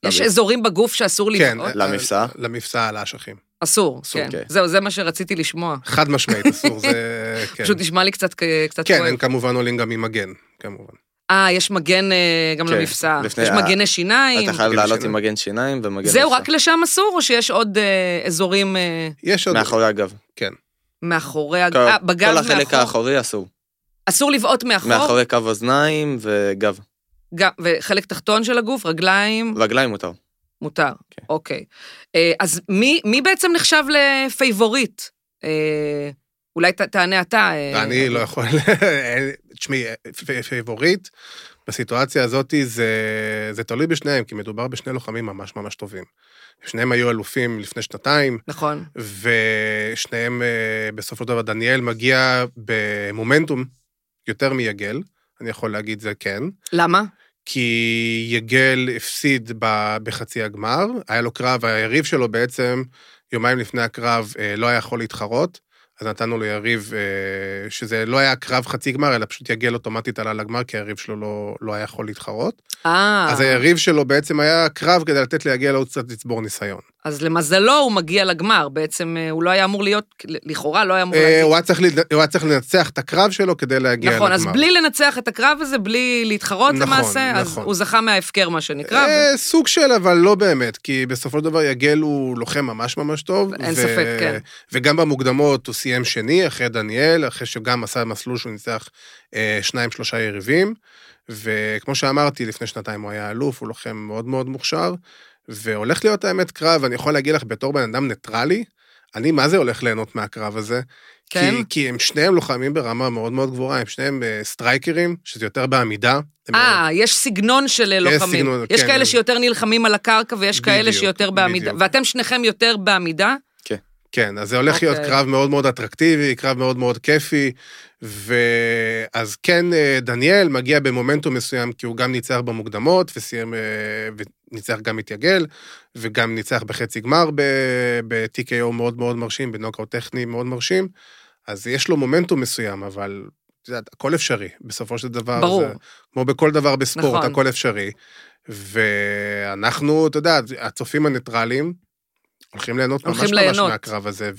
[SPEAKER 1] יש
[SPEAKER 3] למבצע.
[SPEAKER 1] אזורים בגוף שאסור
[SPEAKER 2] כן.
[SPEAKER 3] אה,
[SPEAKER 1] לבעוט?
[SPEAKER 3] למבצע?
[SPEAKER 2] למבצע על האשכים.
[SPEAKER 1] אסור,
[SPEAKER 2] אסור,
[SPEAKER 1] כן.
[SPEAKER 3] כן.
[SPEAKER 1] זהו, זה מה שרציתי לשמוע.
[SPEAKER 2] חד משמעית, אסור, זה... כן.
[SPEAKER 1] פשוט נשמע לי קצת כ- קצת
[SPEAKER 2] כן,
[SPEAKER 1] כואב.
[SPEAKER 2] הם כמובן עולים גם עם מגן, כמובן.
[SPEAKER 1] אה, יש מגן אה, גם
[SPEAKER 3] כן,
[SPEAKER 1] למפסע.
[SPEAKER 3] לפני-
[SPEAKER 1] יש
[SPEAKER 3] אה,
[SPEAKER 1] מגני שיניים.
[SPEAKER 3] אתה חייב
[SPEAKER 2] מגן
[SPEAKER 3] לעלות
[SPEAKER 2] שיניים.
[SPEAKER 3] עם מגן שיניים ומגן...
[SPEAKER 1] זהו,
[SPEAKER 3] נוסף.
[SPEAKER 1] רק לשם אסור, או שיש עוד אה, אזורים אה,
[SPEAKER 2] יש עוד...
[SPEAKER 3] מאחורי הגב.
[SPEAKER 1] מאחורי הגב?
[SPEAKER 3] כל-
[SPEAKER 1] אה, בגב
[SPEAKER 3] כל החלק
[SPEAKER 1] מאחור.
[SPEAKER 3] האחורי אסור.
[SPEAKER 1] אסור לבעוט מאחור,
[SPEAKER 3] מאחורי קו אוזניים וגב.
[SPEAKER 1] גם- וחלק תחתון של הגוף, רגליים,
[SPEAKER 3] רגליים מותר.
[SPEAKER 1] מותר.
[SPEAKER 3] כן.
[SPEAKER 1] אוקיי. אה, אז מי- מי בעצם נחשב לפייבוריט? אה, אולי ת- תענה אתה. אה,
[SPEAKER 2] אני לא יכול... אין- תשמעי, פ- פייבוריט, בסיטואציה הזאת זה, זה תלוי בשניהם, כי מדובר בשני לוחמים ממש ממש טובים. שניהם היו אלופים לפני שנתיים,
[SPEAKER 1] נכון.
[SPEAKER 2] ושניהם, אה, בסופו של דבר, דניאל מגיע במומנטום יותר מיגל, אני יכול להגיד זה כן.
[SPEAKER 1] למה?
[SPEAKER 2] כי יגל הפסיד ב- בחצי הגמר, היה לו קרב, היריב שלו בעצם, יומיים לפני הקרב, אה, לא היה יכול להתחרות, אז נתנו לו יריב, אה, שזה לא היה קרב חצי גמר, אלא פשוט יגל אוטומטית עלה לגמר, כי היריב שלו לא, לא היה יכול להתחרות.
[SPEAKER 1] אה,
[SPEAKER 2] אז היריב שלו בעצם היה קרב כדי לתת ליגל עוד קצת לצבור ניסיון.
[SPEAKER 1] אז למזלו הוא מגיע לגמר, בעצם אה, הוא לא היה אמור להיות, לכאורה לא היה אמור
[SPEAKER 2] אה,
[SPEAKER 1] להגיע.
[SPEAKER 2] הוא היה צריך לד- הוא היה צריך לנצח את הקרב שלו כדי להגיע לגמר.
[SPEAKER 1] נכון, אז בלי לנצח את הקרב הזה, בלי להתחרות
[SPEAKER 2] נכון,
[SPEAKER 1] למעשה, אז
[SPEAKER 2] נכון.
[SPEAKER 1] הוא זכה מההפקר, מה שנקרא. ו-
[SPEAKER 2] אה, סוג של, אבל לא באמת, כי בסופו של דבר יגל הוא לוחם ממש ממש טוב.
[SPEAKER 1] אין ספק, כן.
[SPEAKER 2] וגם במוקדמות הוא סיים שני אחרי דניאל, אחרי שגם עשה מסלול שהוא ניצח אה, שניים, שלושה יריבים. וכמו שאמרתי, לפני שנתיים הוא היה אלוף, הוא לוחם מאוד מאוד מוכשר, והולך להיות האמת קרב, אני יכול להגיד לך, בתור בן אדם ניטרלי, אני מה זה הולך ליהנות מהקרב הזה?
[SPEAKER 1] כן.
[SPEAKER 2] כי, כי הם שניהם לוחמים ברמה מאוד מאוד גבוהה, הם שניהם אה, סטרייקרים, שזה יותר בעמידה. הם
[SPEAKER 1] אה, יש סגנון של לוחמים.
[SPEAKER 2] כן. סגנון,
[SPEAKER 1] יש
[SPEAKER 2] כן,
[SPEAKER 1] כאלה
[SPEAKER 2] אז-
[SPEAKER 1] שיותר נלחמים על הקרקע ויש כאלה
[SPEAKER 2] בדיוק,
[SPEAKER 1] שיותר בעמידה.
[SPEAKER 2] בדיוק.
[SPEAKER 1] ואתם שניכם יותר בעמידה?
[SPEAKER 2] כן, אז זה הולך
[SPEAKER 1] אוקיי.
[SPEAKER 2] להיות קרב מאוד מאוד אטרקטיבי, קרב מאוד מאוד כיפי, ואז כן, אה, דניאל מגיע במומנטום מסוים, כי הוא גם ניצח במוקדמות, וסיים, אה, וניצח גם את יגל, וגם ניצח בחצי גמר ב- ב-TKO מאוד מאוד מרשים, בנוקאוט טכני מאוד מרשים, אז יש לו מומנטום מסוים, אבל... את יודעת, הכל אפשרי, בסופו של דבר.
[SPEAKER 1] ברור.
[SPEAKER 2] אה, זה, כמו בכל דבר בספורט,
[SPEAKER 1] נכון.
[SPEAKER 2] נכון. הכל אפשרי. ואנחנו, אתה יודע, הצופים הניטרלים, הולכים ליהנות
[SPEAKER 1] הולכים
[SPEAKER 2] ממש
[SPEAKER 1] ליהנות.
[SPEAKER 2] ממש מהקרב הזה,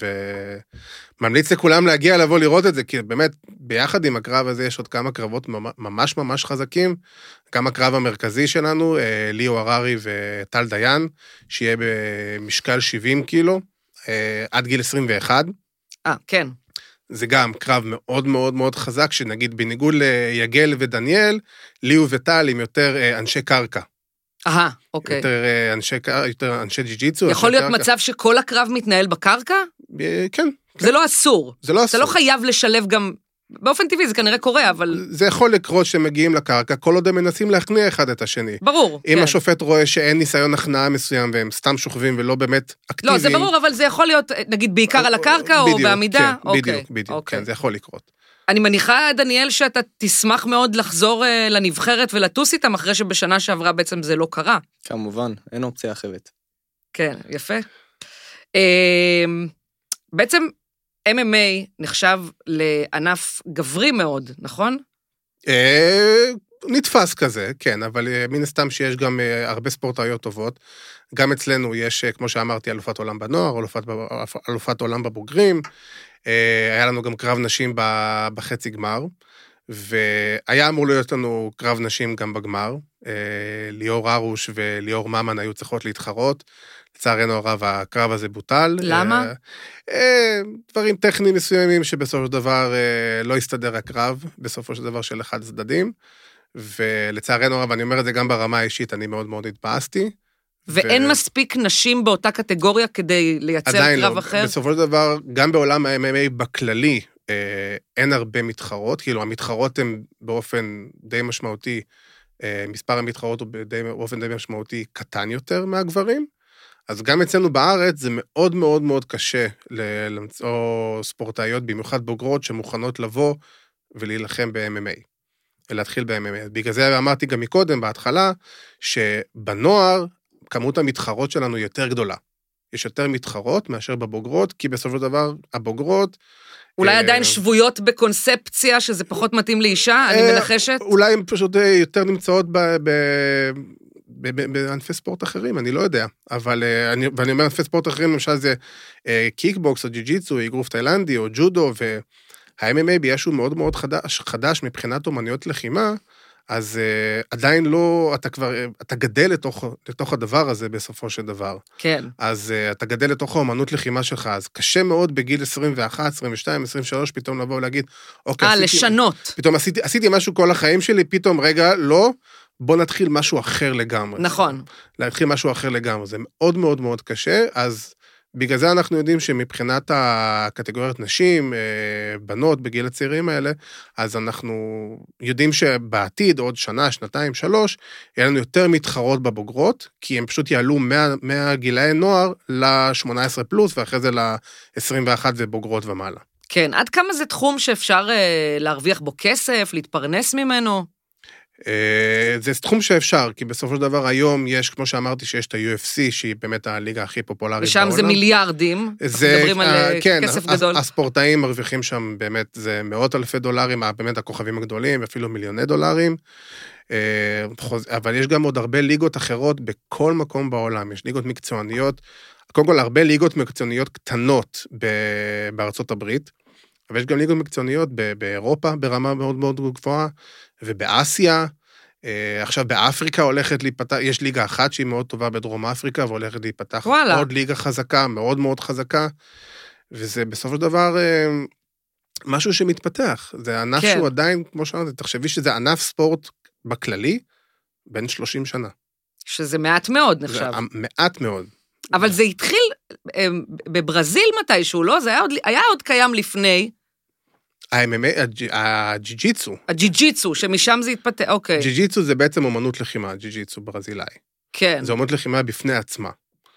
[SPEAKER 2] וממליץ לכולם להגיע לבוא לראות את זה, כי באמת, ביחד עם הקרב הזה יש עוד כמה קרבות ממ- ממש ממש חזקים. גם הקרב המרכזי שלנו, אה, ליאו הררי וטל דיין, שיהיה במשקל 70 קילו, אה, עד גיל 21.
[SPEAKER 1] אה, כן.
[SPEAKER 2] זה גם קרב מאוד מאוד מאוד חזק, שנגיד בניגוד ליגל ודניאל, ליאו וטל הם יותר אה, אנשי קרקע.
[SPEAKER 1] אהה,
[SPEAKER 2] Okay.
[SPEAKER 1] אוקיי.
[SPEAKER 2] יותר אה, אנשי קרקע, יותר אנשי ג'י-ג'יצו.
[SPEAKER 1] יכול
[SPEAKER 2] אנשי
[SPEAKER 1] להיות
[SPEAKER 2] קרקע.
[SPEAKER 1] מצב שכל הקרב מתנהל בקרקע?
[SPEAKER 2] אה, כן,
[SPEAKER 1] זה לא אסור.
[SPEAKER 2] זה לא
[SPEAKER 1] אתה
[SPEAKER 2] אסור.
[SPEAKER 1] לא חייב לשלב גם... באופן טבעי זה כנראה קורה, אבל
[SPEAKER 2] זה יכול לקרות שהם מגיעים לקרקע, כל עוד הם מנסים להכניע אחד את השני.
[SPEAKER 1] ברור.
[SPEAKER 2] אם
[SPEAKER 1] כן.
[SPEAKER 2] השופט רואה שאין ניסיון הכנעה מסוים והם סתם שוכבים ולא באמת אקטיביים...
[SPEAKER 1] לא, זה ברור, אבל זה יכול להיות, אה, נגיד, בעיקר על הקרקע או
[SPEAKER 2] בדיוק,
[SPEAKER 1] בעמידה?
[SPEAKER 2] כן,
[SPEAKER 1] אוקיי,
[SPEAKER 2] בדיוק, בדיוק,
[SPEAKER 1] אוקיי.
[SPEAKER 2] כן, זה יכול לקרות.
[SPEAKER 1] אני מניחה, דניאל, שאתה תשמח מאוד לחזור אה, לנבחרת ולטוס איתם, אחרי שבשנה שעברה בעצם זה לא קרה.
[SPEAKER 3] כמובן, אין אופציה אחרת.
[SPEAKER 1] כן, יפה. אמ, בעצם MMA נחשב לענף גברי מאוד, נכון?
[SPEAKER 2] אה, נתפס כזה, כן, אבל אה, מן הסתם שיש גם אה, הרבה ספורטאיות טובות. גם אצלנו יש, אה, כמו שאמרתי, אלופת עולם בנוער, אלופת, ב- אלופת עולם בבוגרים. אה, היה לנו גם קרב נשים ב- בחצי גמר, והיה אמור להיות לנו קרב נשים גם בגמר. אה, ליאור הרוש וליאור ממן היו צריכות להתחרות. לצערנו הרב, הקרב הזה בוטל.
[SPEAKER 1] למה?
[SPEAKER 2] אה, אה, דברים טכניים מסוימים שבסופו של דבר אה, לא הסתדר הקרב, בסופו של דבר של אחד הצדדים. ולצערנו הרב, אני אומר את זה גם ברמה האישית, אני מאוד מאוד התבאסתי.
[SPEAKER 1] ואין מספיק נשים באותה קטגוריה כדי לייצר
[SPEAKER 2] עדיין
[SPEAKER 1] קרב
[SPEAKER 2] לא.
[SPEAKER 1] אחר?
[SPEAKER 2] בסופו של דבר, גם בעולם ה-MMA בכללי, אה, אין הרבה מתחרות, כאילו המתחרות הן באופן די משמעותי, אה, מספר המתחרות הוא בדי- באופן די משמעותי קטן יותר מהגברים. אז גם אצלנו בארץ זה מאוד מאוד מאוד קשה ל- למצוא ספורטאיות, במיוחד בוגרות, שמוכנות לבוא ולהילחם ב-MMA. להתחיל ב-MMA. בגלל זה אמרתי גם מקודם, בהתחלה, שבנוער כמות המתחרות שלנו יותר גדולה. יש יותר מתחרות מאשר בבוגרות, כי בסופו של דבר, הבוגרות...
[SPEAKER 1] אולי
[SPEAKER 2] אה,
[SPEAKER 1] עדיין שבויות בקונספציה שזה פחות מתאים לאישה, אני
[SPEAKER 2] אה,
[SPEAKER 1] מנחשת?
[SPEAKER 2] אולי הן פשוט אה, יותר נמצאות ב... ב... ב- ב- בענפי ספורט אחרים, אני לא יודע. אבל, אה, אני, ואני אומר ענפי ספורט אחרים, למשל זה אה, קיקבוקס או ג'י-ג'יצו, אגרוף תאילנדי או ג'ודו, וה-MMA בגלל שהוא מאוד מאוד חדש, חדש מבחינת אומנויות לחימה, אז אה, עדיין לא, אתה כבר, אה, אתה גדל לתוך, לתוך הדבר הזה בסופו של דבר.
[SPEAKER 1] כן.
[SPEAKER 2] אז uh, אתה גדל לתוך האומנות לחימה שלך, אז קשה מאוד בגיל 21, 22, 23, פתאום לבוא ולהגיד, אוקיי,
[SPEAKER 1] אה, לשנות.
[SPEAKER 2] פתאום עשיתי, עשיתי משהו כל החיים שלי, פתאום, רגע, לא, בוא נתחיל משהו אחר לגמרי.
[SPEAKER 1] נכון.
[SPEAKER 2] להתחיל משהו אחר לגמרי, זה מאוד מאוד מאוד קשה, אז בגלל זה אנחנו יודעים שמבחינת הקטגוריית נשים, אה, בנות בגיל הצעירים האלה, אז אנחנו יודעים שבעתיד, עוד שנה, שנתיים, שלוש, יהיה לנו יותר מתחרות בבוגרות, כי הם פשוט יעלו מה- מהגילאי נוער ל-18 פלוס, ואחרי זה ל-21 ובוגרות ומעלה.
[SPEAKER 1] כן, עד כמה זה תחום שאפשר אה, להרוויח בו כסף, להתפרנס ממנו?
[SPEAKER 2] אה, זה תחום שאפשר, כי בסופו של דבר היום יש, כמו שאמרתי, שיש את ה-UFC, שהיא באמת הליגה הכי פופולרית
[SPEAKER 1] ושם
[SPEAKER 2] בעולם.
[SPEAKER 1] זה מיליארדים, אנחנו מדברים על
[SPEAKER 2] אה,
[SPEAKER 1] אה, כסף
[SPEAKER 2] הס-
[SPEAKER 1] גדול.
[SPEAKER 2] הספורטאים מרוויחים שם באמת, זה מאות אלפי דולרים, ה- באמת הכוכבים הגדולים, אפילו מיליוני דולרים. אה, חוז- אבל יש גם עוד הרבה ליגות אחרות בכל מקום בעולם, יש ליגות מקצועניות, קודם כל הרבה ליגות מקצועניות קטנות ב- בארצות הברית, אבל יש גם ליגות מקצועניות ב- באירופה ברמה מאוד מאוד גבוהה, ובאסיה. אה, עכשיו באפריקה הולכת להיפתח, יש ליגה אחת שהיא מאוד טובה בדרום אפריקה והולכת להיפתח
[SPEAKER 1] וואלה.
[SPEAKER 2] עוד ליגה חזקה, מאוד מאוד חזקה, וזה בסופו של דבר אה, משהו שמתפתח. זה ענף
[SPEAKER 1] כן.
[SPEAKER 2] כן. שהוא עדיין, כמו שאמרתי, תחשבי שזה ענף ספורט בכללי, בין 30 שנה.
[SPEAKER 1] שזה מעט מאוד נחשב.
[SPEAKER 2] זה אמ- מעט מאוד.
[SPEAKER 1] אבל זה התחיל אה, בברזיל מתישהו, לא? זה היה עוד- היה עוד קיים לפני,
[SPEAKER 2] ה-MMA, הג'י- הג'י-ג'יצו,
[SPEAKER 1] אוקיי. הג'י-ג'יצו, שמשם זה התפתח, אוקיי,
[SPEAKER 2] ג'י-ג'יצו זה בעצם אומנות לחימה, ג'י-ג'יצו ברזילאי.
[SPEAKER 1] כן,
[SPEAKER 2] זה אומנות לחימה בפני עצמה.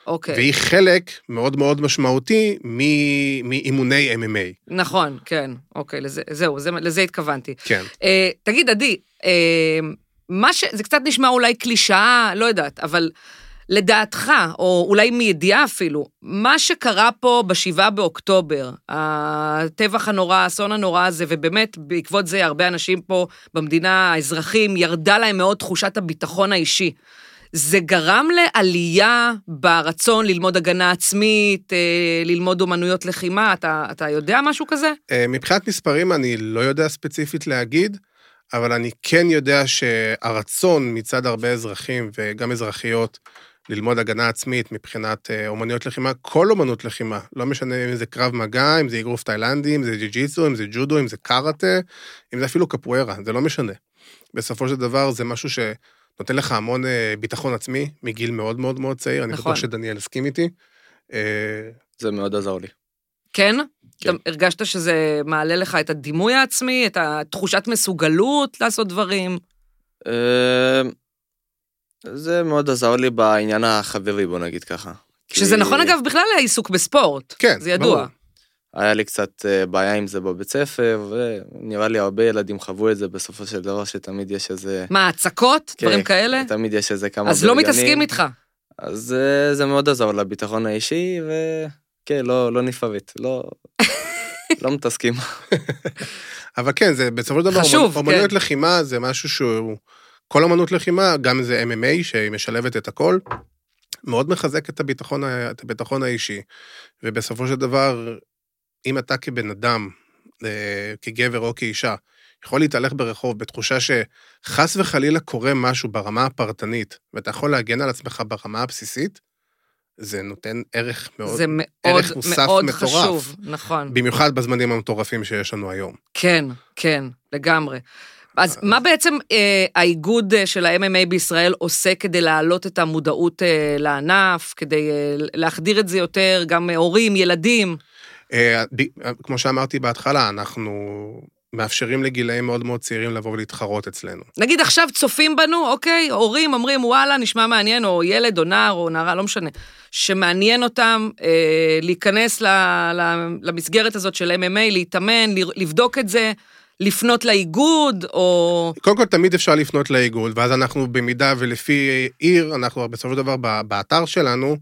[SPEAKER 1] אוקיי,
[SPEAKER 2] והיא חלק מאוד מאוד משמעותי מ- מאימוני MMA.
[SPEAKER 1] נכון, כן, אוקיי, לזה- זהו, זה- לזה התכוונתי.
[SPEAKER 2] כן.
[SPEAKER 1] אה, תגיד, עדי, אה, מה ש... זה קצת נשמע אולי קלישאה, לא יודעת, אבל לדעתך, או אולי מידיעה אפילו, מה שקרה פה בשבעה באוקטובר, הטבח הנורא, האסון הנורא הזה, ובאמת, בעקבות זה הרבה אנשים פה במדינה, האזרחים, ירדה להם מאוד תחושת הביטחון האישי. זה גרם לעלייה ברצון ללמוד הגנה עצמית, אה, ללמוד אומנויות לחימה, אתה, אתה יודע משהו כזה?
[SPEAKER 2] אה, מבחינת מספרים אני לא יודע ספציפית להגיד, אבל אני כן יודע שהרצון מצד הרבה אזרחים וגם אזרחיות ללמוד הגנה עצמית מבחינת אה, אומנויות לחימה, כל אומנות לחימה, לא משנה אם זה קרב מגע, אם זה אגרוף תאילנדי, אם זה ג'י-ג'יצו, אם זה ג'ודו, אם זה קארטה, אם זה אפילו קפוארה, זה לא משנה. בסופו של דבר זה משהו שנותן לך המון אה, ביטחון עצמי מגיל מאוד מאוד מאוד צעיר, אני
[SPEAKER 1] נכון.
[SPEAKER 2] בטוח שדניאל הסכים איתי. אה,
[SPEAKER 3] זה מאוד עזר לי.
[SPEAKER 1] כן?
[SPEAKER 3] כן.
[SPEAKER 1] אתה הרגשת שזה מעלה לך את הדימוי העצמי, את התחושת מסוגלות לעשות דברים?
[SPEAKER 3] אה, זה מאוד עזר לי בעניין החברי, בוא נגיד ככה.
[SPEAKER 1] שזה
[SPEAKER 3] כי
[SPEAKER 1] נכון, אגב, בכלל העיסוק בספורט.
[SPEAKER 2] אה, כן,
[SPEAKER 1] זה ידוע.
[SPEAKER 2] ברור.
[SPEAKER 3] היה לי קצת אה, בעיה עם זה בבית ספר, ונראה לי הרבה ילדים חוו את זה בסופו של דבר, שתמיד יש איזה...
[SPEAKER 1] מה, הצקות?
[SPEAKER 3] כן,
[SPEAKER 1] דברים כאלה?
[SPEAKER 3] תמיד יש איזה כמה...
[SPEAKER 1] אז לא
[SPEAKER 3] בלגנים.
[SPEAKER 1] מתעסקים איתך.
[SPEAKER 3] אז אה, זה מאוד עזר לביטחון האישי, וכן, לא, לא נפרט, לא... לא מתעסקים.
[SPEAKER 2] אבל כן, זה בסופו של דבר,
[SPEAKER 1] חשוב,
[SPEAKER 2] אומנ- אומנויות
[SPEAKER 1] כן.
[SPEAKER 2] לחימה זה משהו שהוא, כל אומנות לחימה, גם זה MMA שהיא משלבת את הכל, מאוד מחזק את הביטחון, ה- את הביטחון האישי. ובסופו של דבר, אם אתה כבן אדם, אה, כגבר או כאישה, יכול להתהלך ברחוב בתחושה שחס וחלילה קורה משהו ברמה הפרטנית, ואתה יכול להגן על עצמך ברמה הבסיסית, זה נותן ערך מאוד,
[SPEAKER 1] זה מאוד
[SPEAKER 2] ערך מוסף
[SPEAKER 1] מאוד
[SPEAKER 2] מטורף.
[SPEAKER 1] חשוב. נכון.
[SPEAKER 2] במיוחד בזמנים המטורפים שיש לנו היום.
[SPEAKER 1] כן, כן, לגמרי. אז מה בעצם אה, האיגוד אה, של ה-MMA בישראל עושה כדי להעלות את המודעות אה, לענף, כדי אה, להחדיר את זה יותר, גם אה, הורים, ילדים?
[SPEAKER 2] אה, ב- אה, כמו שאמרתי בהתחלה, אנחנו מאפשרים לגילאים מאוד מאוד צעירים לבוא ולהתחרות אצלנו.
[SPEAKER 1] נגיד עכשיו צופים בנו, אוקיי, הורים אומרים, וואלה, נשמע מעניין, או ילד, או נער, או נערה, לא משנה, שמעניין אותם אה, להיכנס ל, ל, למסגרת הזאת של MMA, להתאמן, ל, לבדוק את זה, לפנות לאיגוד, או...
[SPEAKER 2] קודם כל, תמיד אפשר לפנות לאיגוד, ואז אנחנו במידה ולפי עיר, אנחנו בסופו של דבר ב- באתר שלנו,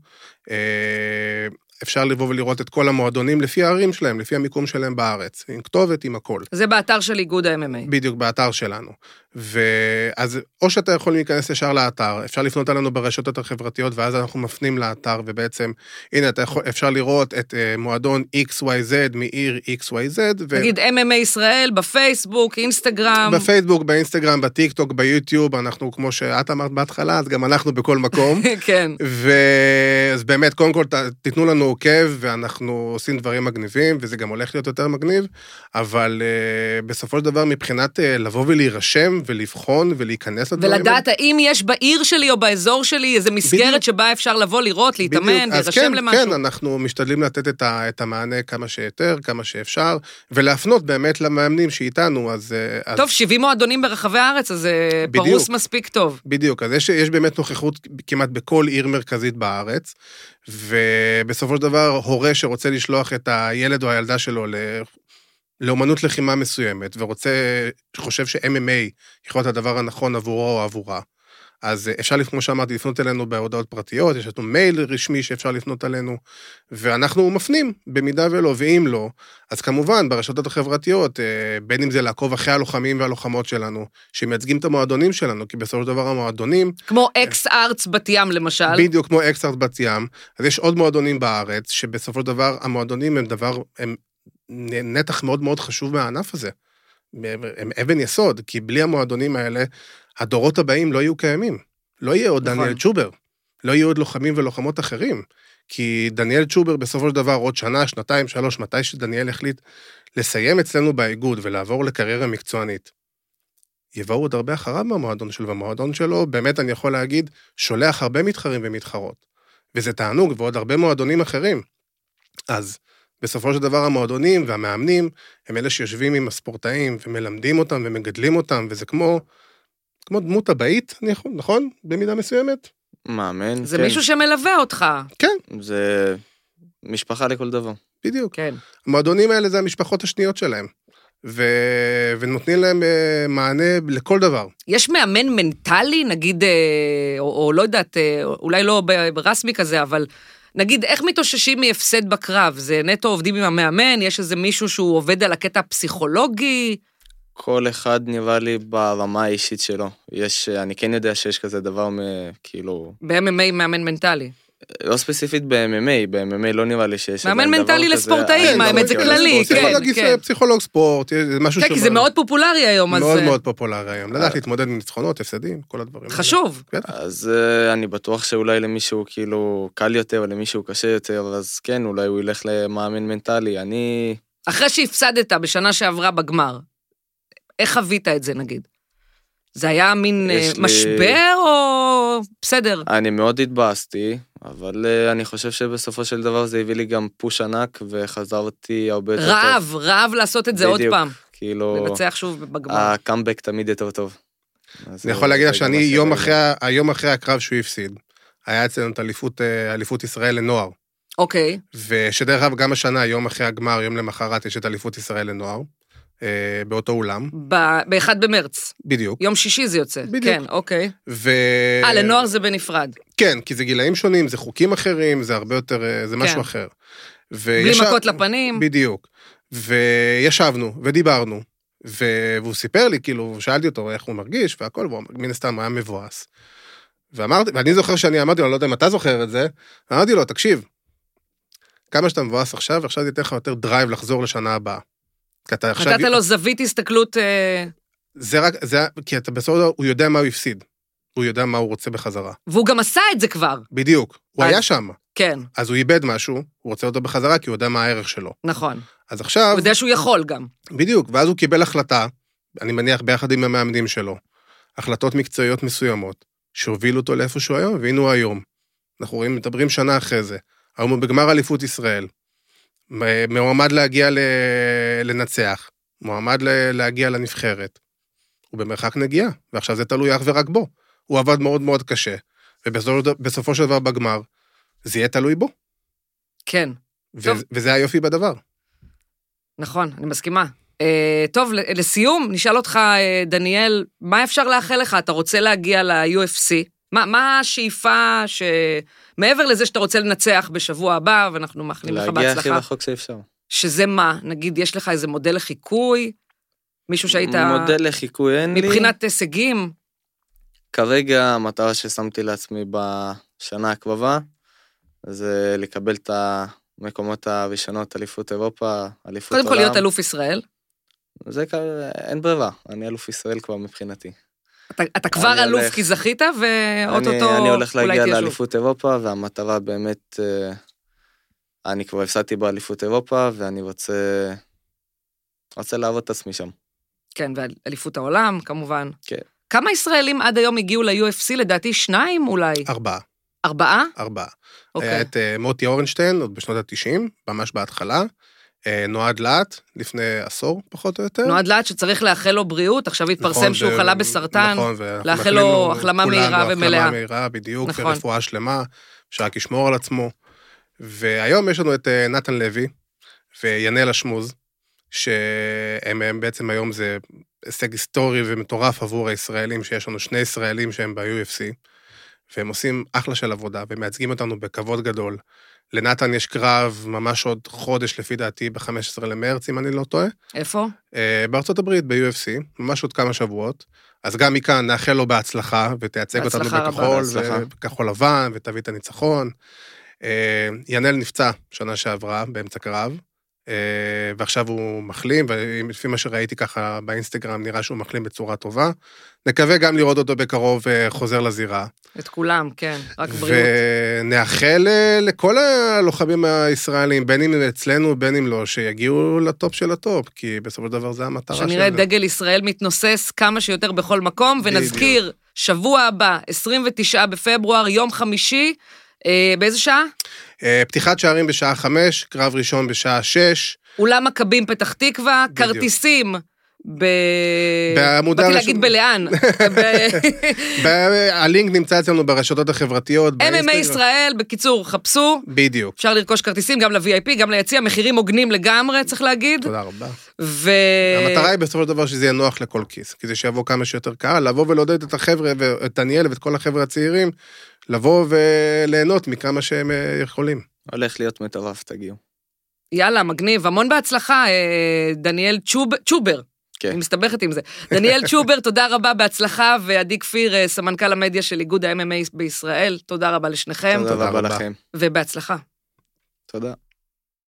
[SPEAKER 2] אה, אפשר לבוא ולראות את כל המועדונים לפי הערים שלהם, לפי המיקום שלהם בארץ, עם כתובת, עם הכל.
[SPEAKER 1] זה באתר של איגוד ה-MMA.
[SPEAKER 2] בדיוק, באתר שלנו. ואז או שאתה יכול להיכנס ישר לאתר, אפשר לפנות אלינו ברשתות החברתיות, ואז אנחנו מפנים לאתר, ובעצם, הנה, אתה יכול, אפשר לראות את uh, מועדון XYZ מעיר XYZ,
[SPEAKER 1] נגיד MMA ישראל, בפייסבוק, אינסטגרם.
[SPEAKER 2] ובפייסבוק, באינסטגרם, בטיקטוק, ביוטיוב, אנחנו, כמו שאת אמרת בהתחלה, אז גם אנחנו בכל מקום.
[SPEAKER 1] כן.
[SPEAKER 2] ואז באמת, קודם כל, ת- תיתנו לנו עוקב, ואנחנו עושים דברים מגניבים, וזה גם הולך להיות יותר מגניב, אבל uh, בסופו של דבר, מבחינת uh, לבוא ולהירשם, ולבחון, ולהיכנס לדברים
[SPEAKER 1] ולדעת האם יש בעיר שלי או באזור שלי איזה מסגרת
[SPEAKER 2] בדיוק.
[SPEAKER 1] שבה אפשר לבוא לראות, להתאמן,
[SPEAKER 2] בדיוק. אז
[SPEAKER 1] להירשם
[SPEAKER 2] כן,
[SPEAKER 1] למשהו.
[SPEAKER 2] כן, אנחנו משתדלים לתת את, ה, את המענה כמה שיותר, כמה שאפשר, ולהפנות באמת למאמנים שאיתנו, אז... אה, אז
[SPEAKER 1] טוב, 70 מועדונים ברחבי הארץ, אז זה
[SPEAKER 2] בדיוק.
[SPEAKER 1] פרוס מספיק טוב.
[SPEAKER 2] בדיוק, אז יש, יש באמת נוכחות כמעט בכל עיר מרכזית בארץ, ובסופו של דבר, הורה שרוצה לשלוח את הילד או הילדה שלו ל... לאומנות לחימה מסוימת, ורוצה, חושב ש-MMA יכול להיות הדבר הנכון עבורו או עבורה, אז אה, אפשר, כמו שאמרתי, לפנות אלינו בהודעות פרטיות, יש לנו מייל רשמי שאפשר לפנות אלינו, ואנחנו מפנים, במידה ולא, ואם לא, אז כמובן, ברשתות החברתיות, אה, בין אם זה לעקוב אחרי הלוחמים והלוחמות שלנו, שמייצגים את המועדונים שלנו, כי בסופו של דבר המועדונים,
[SPEAKER 1] כמו אקס ארץ בת ים למשל.
[SPEAKER 2] בדיוק כמו אקסארט בת ים, אז יש עוד מועדונים בארץ, שבסופו של דבר המועדונים הם דבר, הם נתח מאוד מאוד חשוב מהענף הזה. הם, הם אבן יסוד, כי בלי המועדונים האלה, הדורות הבאים לא יהיו קיימים. לא יהיה עוד
[SPEAKER 1] נכון.
[SPEAKER 2] דניאל צ'ובר, לא יהיו עוד לוחמים ולוחמות אחרים. כי דניאל צ'ובר בסופו של דבר עוד שנה, שנתיים, שלוש, מתי שדניאל החליט לסיים אצלנו באיגוד ולעבור לקריירה מקצוענית. יבואו עוד הרבה אחריו מהמועדון שלו, והמועדון שלו, באמת אני יכול להגיד, שולח הרבה מתחרים ומתחרות. וזה תענוג, ועוד הרבה מועדונים אחרים. אז בסופו של דבר המועדונים והמאמנים הם אלה שיושבים עם הספורטאים ומלמדים אותם ומגדלים אותם, וזה כמו, כמו דמות הבאית, אני יכול- נכון? במידה מסוימת.
[SPEAKER 3] מאמן,
[SPEAKER 1] זה
[SPEAKER 3] כן.
[SPEAKER 1] מישהו שמלווה אותך.
[SPEAKER 3] זה משפחה לכל דבר.
[SPEAKER 2] בדיוק.
[SPEAKER 1] כן.
[SPEAKER 2] המועדונים האלה זה המשפחות השניות שלהם. ו... ונותנים להם אה, מענה לכל דבר.
[SPEAKER 1] יש מאמן מנטלי, נגיד, אה, או, או לא יודעת, אה, אולי לא ב- ברסמי כזה, אבל נגיד, איך מתאוששים מהפסד בקרב? זה נטו עובדים עם המאמן, יש איזה מישהו שהוא עובד על הקטע הפסיכולוגי?
[SPEAKER 3] כל אחד נראה לי ברמה האישית שלו. יש, אני כן יודע שיש כזה דבר, מ- כאילו,
[SPEAKER 1] ב-MMA מאמן מנטלי.
[SPEAKER 3] לא ספציפית ב-MMA, ב-MMA לא נראה לי שיש...
[SPEAKER 1] מאמן
[SPEAKER 3] עדיין דבר
[SPEAKER 1] מנטלי
[SPEAKER 3] כזה.
[SPEAKER 1] לספורטאים,
[SPEAKER 3] כן,
[SPEAKER 1] האמת, זה
[SPEAKER 3] אבל
[SPEAKER 1] כללי,
[SPEAKER 3] ספורט-
[SPEAKER 1] כן.
[SPEAKER 2] פסיכולוג, פסיכולוג ספורט, זה משהו
[SPEAKER 1] כן, כי זה מאוד פופולרי היום, אז
[SPEAKER 2] מאוד
[SPEAKER 1] אה,
[SPEAKER 2] מאוד פופולרי היום. לדעת להתמודד עם ניצחונות, הפסדים, כל הדברים האלה.
[SPEAKER 1] חשוב.
[SPEAKER 2] בטח.
[SPEAKER 3] אז אה, אני בטוח שאולי למישהו כאילו קל יותר, למישהו קשה יותר, אז כן, אולי הוא ילך למאמן מנטלי. אני...
[SPEAKER 1] אחרי שהפסדת בשנה שעברה בגמר, איך חווית את זה, נגיד? זה היה מין אה,
[SPEAKER 3] יש לי-
[SPEAKER 1] משבר, או... בסדר.
[SPEAKER 3] אני מאוד התבאסתי, אבל אה, אני חושב שבסופו של דבר זה הביא לי גם פוש ענק, וחזרתי הרבה יותר טוב.
[SPEAKER 1] רעב, רעב לעשות את זה עוד
[SPEAKER 3] בדיוק. אה.
[SPEAKER 1] פעם.
[SPEAKER 3] כאילו,
[SPEAKER 1] לנצח שוב בגמר.
[SPEAKER 3] הקאמבק תמיד יותר טוב. אז
[SPEAKER 2] אני
[SPEAKER 3] זה-
[SPEAKER 2] יכול להגיד לך
[SPEAKER 3] זה גם
[SPEAKER 2] שאני
[SPEAKER 3] מה
[SPEAKER 2] יום
[SPEAKER 3] שזה-
[SPEAKER 2] אחרי, היום אחרי הקרב שהוא הפסיד, היה אצלנו את אליפות, אה, אליפות ישראל לנוער.
[SPEAKER 1] אוקיי.
[SPEAKER 2] ושדרך אגב, גם השנה, יום אחרי הגמר, יום למחרת, יש את אליפות ישראל לנוער, אה, באותו אולם,
[SPEAKER 1] ב- ב-1 במרץ,
[SPEAKER 2] בדיוק.
[SPEAKER 1] יום שישי זה יוצא.
[SPEAKER 2] בדיוק.
[SPEAKER 1] כן, אוקיי.
[SPEAKER 2] ו...
[SPEAKER 1] אה, לנוער זה בנפרד.
[SPEAKER 2] כן, כי זה גילאים שונים, זה חוקים אחרים, זה הרבה יותר, אה, זה
[SPEAKER 1] כן.
[SPEAKER 2] משהו אחר.
[SPEAKER 1] בלי
[SPEAKER 2] ויש-
[SPEAKER 1] מכות לפנים.
[SPEAKER 2] בדיוק. וישבנו ודיברנו, ו... והוא סיפר לי, כאילו, שאלתי אותו איך הוא מרגיש והכל, והוא מן הסתם היה מבואס. ואמרתי, ואני זוכר שאני אמרתי לו, אני לא יודע אם אתה זוכר את זה, אמרתי לו, תקשיב, כמה שאתה מבואס עכשיו, עכשיו זה ייתן לך יותר דרייב לחזור לשנה הבאה. כי אתה עכשיו...
[SPEAKER 1] נתת לו זווית הסתכלות... אה,
[SPEAKER 2] זה רק, זה, כי אתה בסופו של דבר, הוא יודע מה הוא הפסיד. הוא יודע מה הוא רוצה בחזרה.
[SPEAKER 1] והוא גם עשה את זה כבר.
[SPEAKER 2] בדיוק. הוא
[SPEAKER 1] אז-
[SPEAKER 2] היה שם,
[SPEAKER 1] כן,
[SPEAKER 2] אז הוא איבד משהו, הוא רוצה אותו בחזרה כי הוא יודע מה הערך שלו.
[SPEAKER 1] נכון.
[SPEAKER 2] אז עכשיו...
[SPEAKER 1] הוא יודע שהוא יכול גם.
[SPEAKER 2] בדיוק, ואז הוא קיבל החלטה, אני מניח ביחד עם המאמנים שלו, החלטות מקצועיות מסוימות, שהובילו אותו לאיפה שהוא היום, והנה הוא היום. אנחנו רואים, מדברים שנה אחרי זה. היום הוא בגמר אליפות ישראל. מ- מועמד להגיע ל... לנצח, מועמד ל... להגיע לנבחרת. הוא במרחק נגיעה, ועכשיו זה תלוי אך ורק בו. הוא עבד מאוד מאוד קשה, ובסופו של דבר בגמר, זה יהיה תלוי בו.
[SPEAKER 1] כן,
[SPEAKER 2] ו...
[SPEAKER 1] טוב.
[SPEAKER 2] וזה היופי בדבר.
[SPEAKER 1] נכון, אני מסכימה. אה, טוב, ל- לסיום, נשאל אותך, אה, דניאל, מה אפשר לאחל לך? אתה רוצה להגיע ל-UFC? מה, מה השאיפה ש... מעבר לזה שאתה רוצה לנצח בשבוע הבא, ואנחנו מאחלים לך בהצלחה.
[SPEAKER 3] להגיע הכי רחוק שאפשר.
[SPEAKER 1] שזה מה? נגיד, יש לך איזה מודל לחיקוי? מישהו שהיית...
[SPEAKER 3] מודל לחיקוי אין לי.
[SPEAKER 1] מבחינת הישגים?
[SPEAKER 3] כרגע המטרה ששמתי לעצמי בשנה הקרובה זה לקבל את המקומות הראשונות, אליפות אירופה, אליפות עולם.
[SPEAKER 1] קודם כל להיות אלוף ישראל.
[SPEAKER 3] זה כבר, אין ברירה, אני אלוף ישראל כבר מבחינתי.
[SPEAKER 1] אתה, אתה כבר
[SPEAKER 3] אני
[SPEAKER 1] אלוף
[SPEAKER 3] הולך.
[SPEAKER 1] כי זכית,
[SPEAKER 3] אני,
[SPEAKER 1] ואו-טו-טו
[SPEAKER 3] אני הולך
[SPEAKER 1] אולי
[SPEAKER 3] להגיע
[SPEAKER 1] תהיה שוב.
[SPEAKER 3] לאליפות אירופה, והמטרה באמת, אה, אני כבר הפסדתי באליפות אירופה, ואני רוצה, רוצה לעבוד את עצמי שם.
[SPEAKER 1] כן, ואליפות העולם, כמובן.
[SPEAKER 3] כן.
[SPEAKER 1] כמה ישראלים עד היום הגיעו ל-UFC? לדעתי שניים אולי.
[SPEAKER 2] ארבעה,
[SPEAKER 1] ארבעה?
[SPEAKER 2] ארבעה. היה
[SPEAKER 1] אוקיי.
[SPEAKER 2] את אה, מוטי אורנשטיין עוד בשנות ה-90, ממש בהתחלה. אה, נועד להט, לפני עשור פחות או יותר.
[SPEAKER 1] נועד להט שצריך לאחל לו בריאות, עכשיו
[SPEAKER 2] נכון,
[SPEAKER 1] התפרסם שהוא
[SPEAKER 2] ו-
[SPEAKER 1] חלה בסרטן.
[SPEAKER 2] נכון, ואנחנו
[SPEAKER 1] לאחל
[SPEAKER 2] מאחלים
[SPEAKER 1] לו החלמה
[SPEAKER 2] כולנו
[SPEAKER 1] מהירה ומלאה.
[SPEAKER 2] החלמה מהירה, בדיוק,
[SPEAKER 1] נכון.
[SPEAKER 2] ורפואה שלמה, שרק ישמור על עצמו. והיום יש לנו את אה, נתן לוי וינאל אשמוז, שהם הם בעצם היום זה הישג היסטורי ומטורף עבור הישראלים, שיש לנו שני ישראלים שהם ב-UFC, והם עושים אחלה של עבודה, ומייצגים אותנו בכבוד גדול. לנתן יש קרב ממש עוד חודש, לפי דעתי, ב-15 למרץ, אם אני לא טועה,
[SPEAKER 1] איפה?
[SPEAKER 2] אה, בארצות הברית, ב-UFC, ממש עוד כמה שבועות. אז גם מכאן נאחל לו בהצלחה, ותייצג אותנו
[SPEAKER 1] בהצלחה רבה,
[SPEAKER 2] בכחול,
[SPEAKER 3] בהצלחה.
[SPEAKER 2] בכחול לבן, ותביא את הניצחון. אה, ינאל נפצע שנה שעברה באמצע קרב, אה, ועכשיו הוא מחלים, ולפי מה שראיתי ככה באינסטגרם, נראה שהוא מחלים בצורה טובה. נקווה גם לראות אותו בקרוב אה, חוזר לזירה.
[SPEAKER 1] את כולם, כן, רק בריאות.
[SPEAKER 2] ונאחל אה, לכל הלוחמים הישראלים, בין אם אצלנו, בין אם לא, שיגיעו לטופ של הטופ, כי בסופו של דבר זה המטרה שלנו.
[SPEAKER 1] שנראה דגל ישראל מתנוסס כמה שיותר בכל מקום, ונזכיר, שבוע הבא, 29 בפברואר, יום חמישי, אה, באיזה שעה?
[SPEAKER 2] אה, פתיחת שערים בשעה חמש, קרב ראשון בשעה שש.
[SPEAKER 1] אולם מכבים פתח תקווה,
[SPEAKER 2] בדיוק.
[SPEAKER 1] כרטיסים ב...
[SPEAKER 2] בעמוד
[SPEAKER 1] באתי
[SPEAKER 2] הראשון-
[SPEAKER 1] להגיד בלאן. ב-
[SPEAKER 2] ב- הלינק נמצא אצלנו ברשתות החברתיות,
[SPEAKER 1] MMA
[SPEAKER 2] באינסטגרם.
[SPEAKER 1] ישראל, בקיצור, חפשו.
[SPEAKER 2] בדיוק.
[SPEAKER 1] אפשר לרכוש כרטיסים גם ל-VIP, גם ליציע, מחירים הוגנים לגמרי, צריך להגיד.
[SPEAKER 2] תודה רבה.
[SPEAKER 1] ו...
[SPEAKER 2] המטרה היא בסופו של דבר שזה יהיה נוח לכל כיס, כדי שיבוא כמה שיותר קהל, לבוא ולעודד את החבר'ה, ואת דניאל ואת כל החבר'ה הצעירים, לבוא וליהנות מכמה שהם אה, יכולים.
[SPEAKER 3] הולך להיות מטורף, תגיעו.
[SPEAKER 1] יאללה, מגניב, המון בהצלחה, אה, דניאל צ'וב, צ'ובר.
[SPEAKER 3] כן.
[SPEAKER 1] אני מסתבכת עם זה. דניאל צ'ובר, תודה רבה, בהצלחה, ועדי כפיר, אה, סמנכ"ל המדיה של איגוד ה-MMA בישראל, תודה רבה לשניכם,
[SPEAKER 3] תודה
[SPEAKER 2] תודה
[SPEAKER 3] רבה
[SPEAKER 2] רבה.
[SPEAKER 3] לכם.
[SPEAKER 1] ובהצלחה.
[SPEAKER 3] תודה.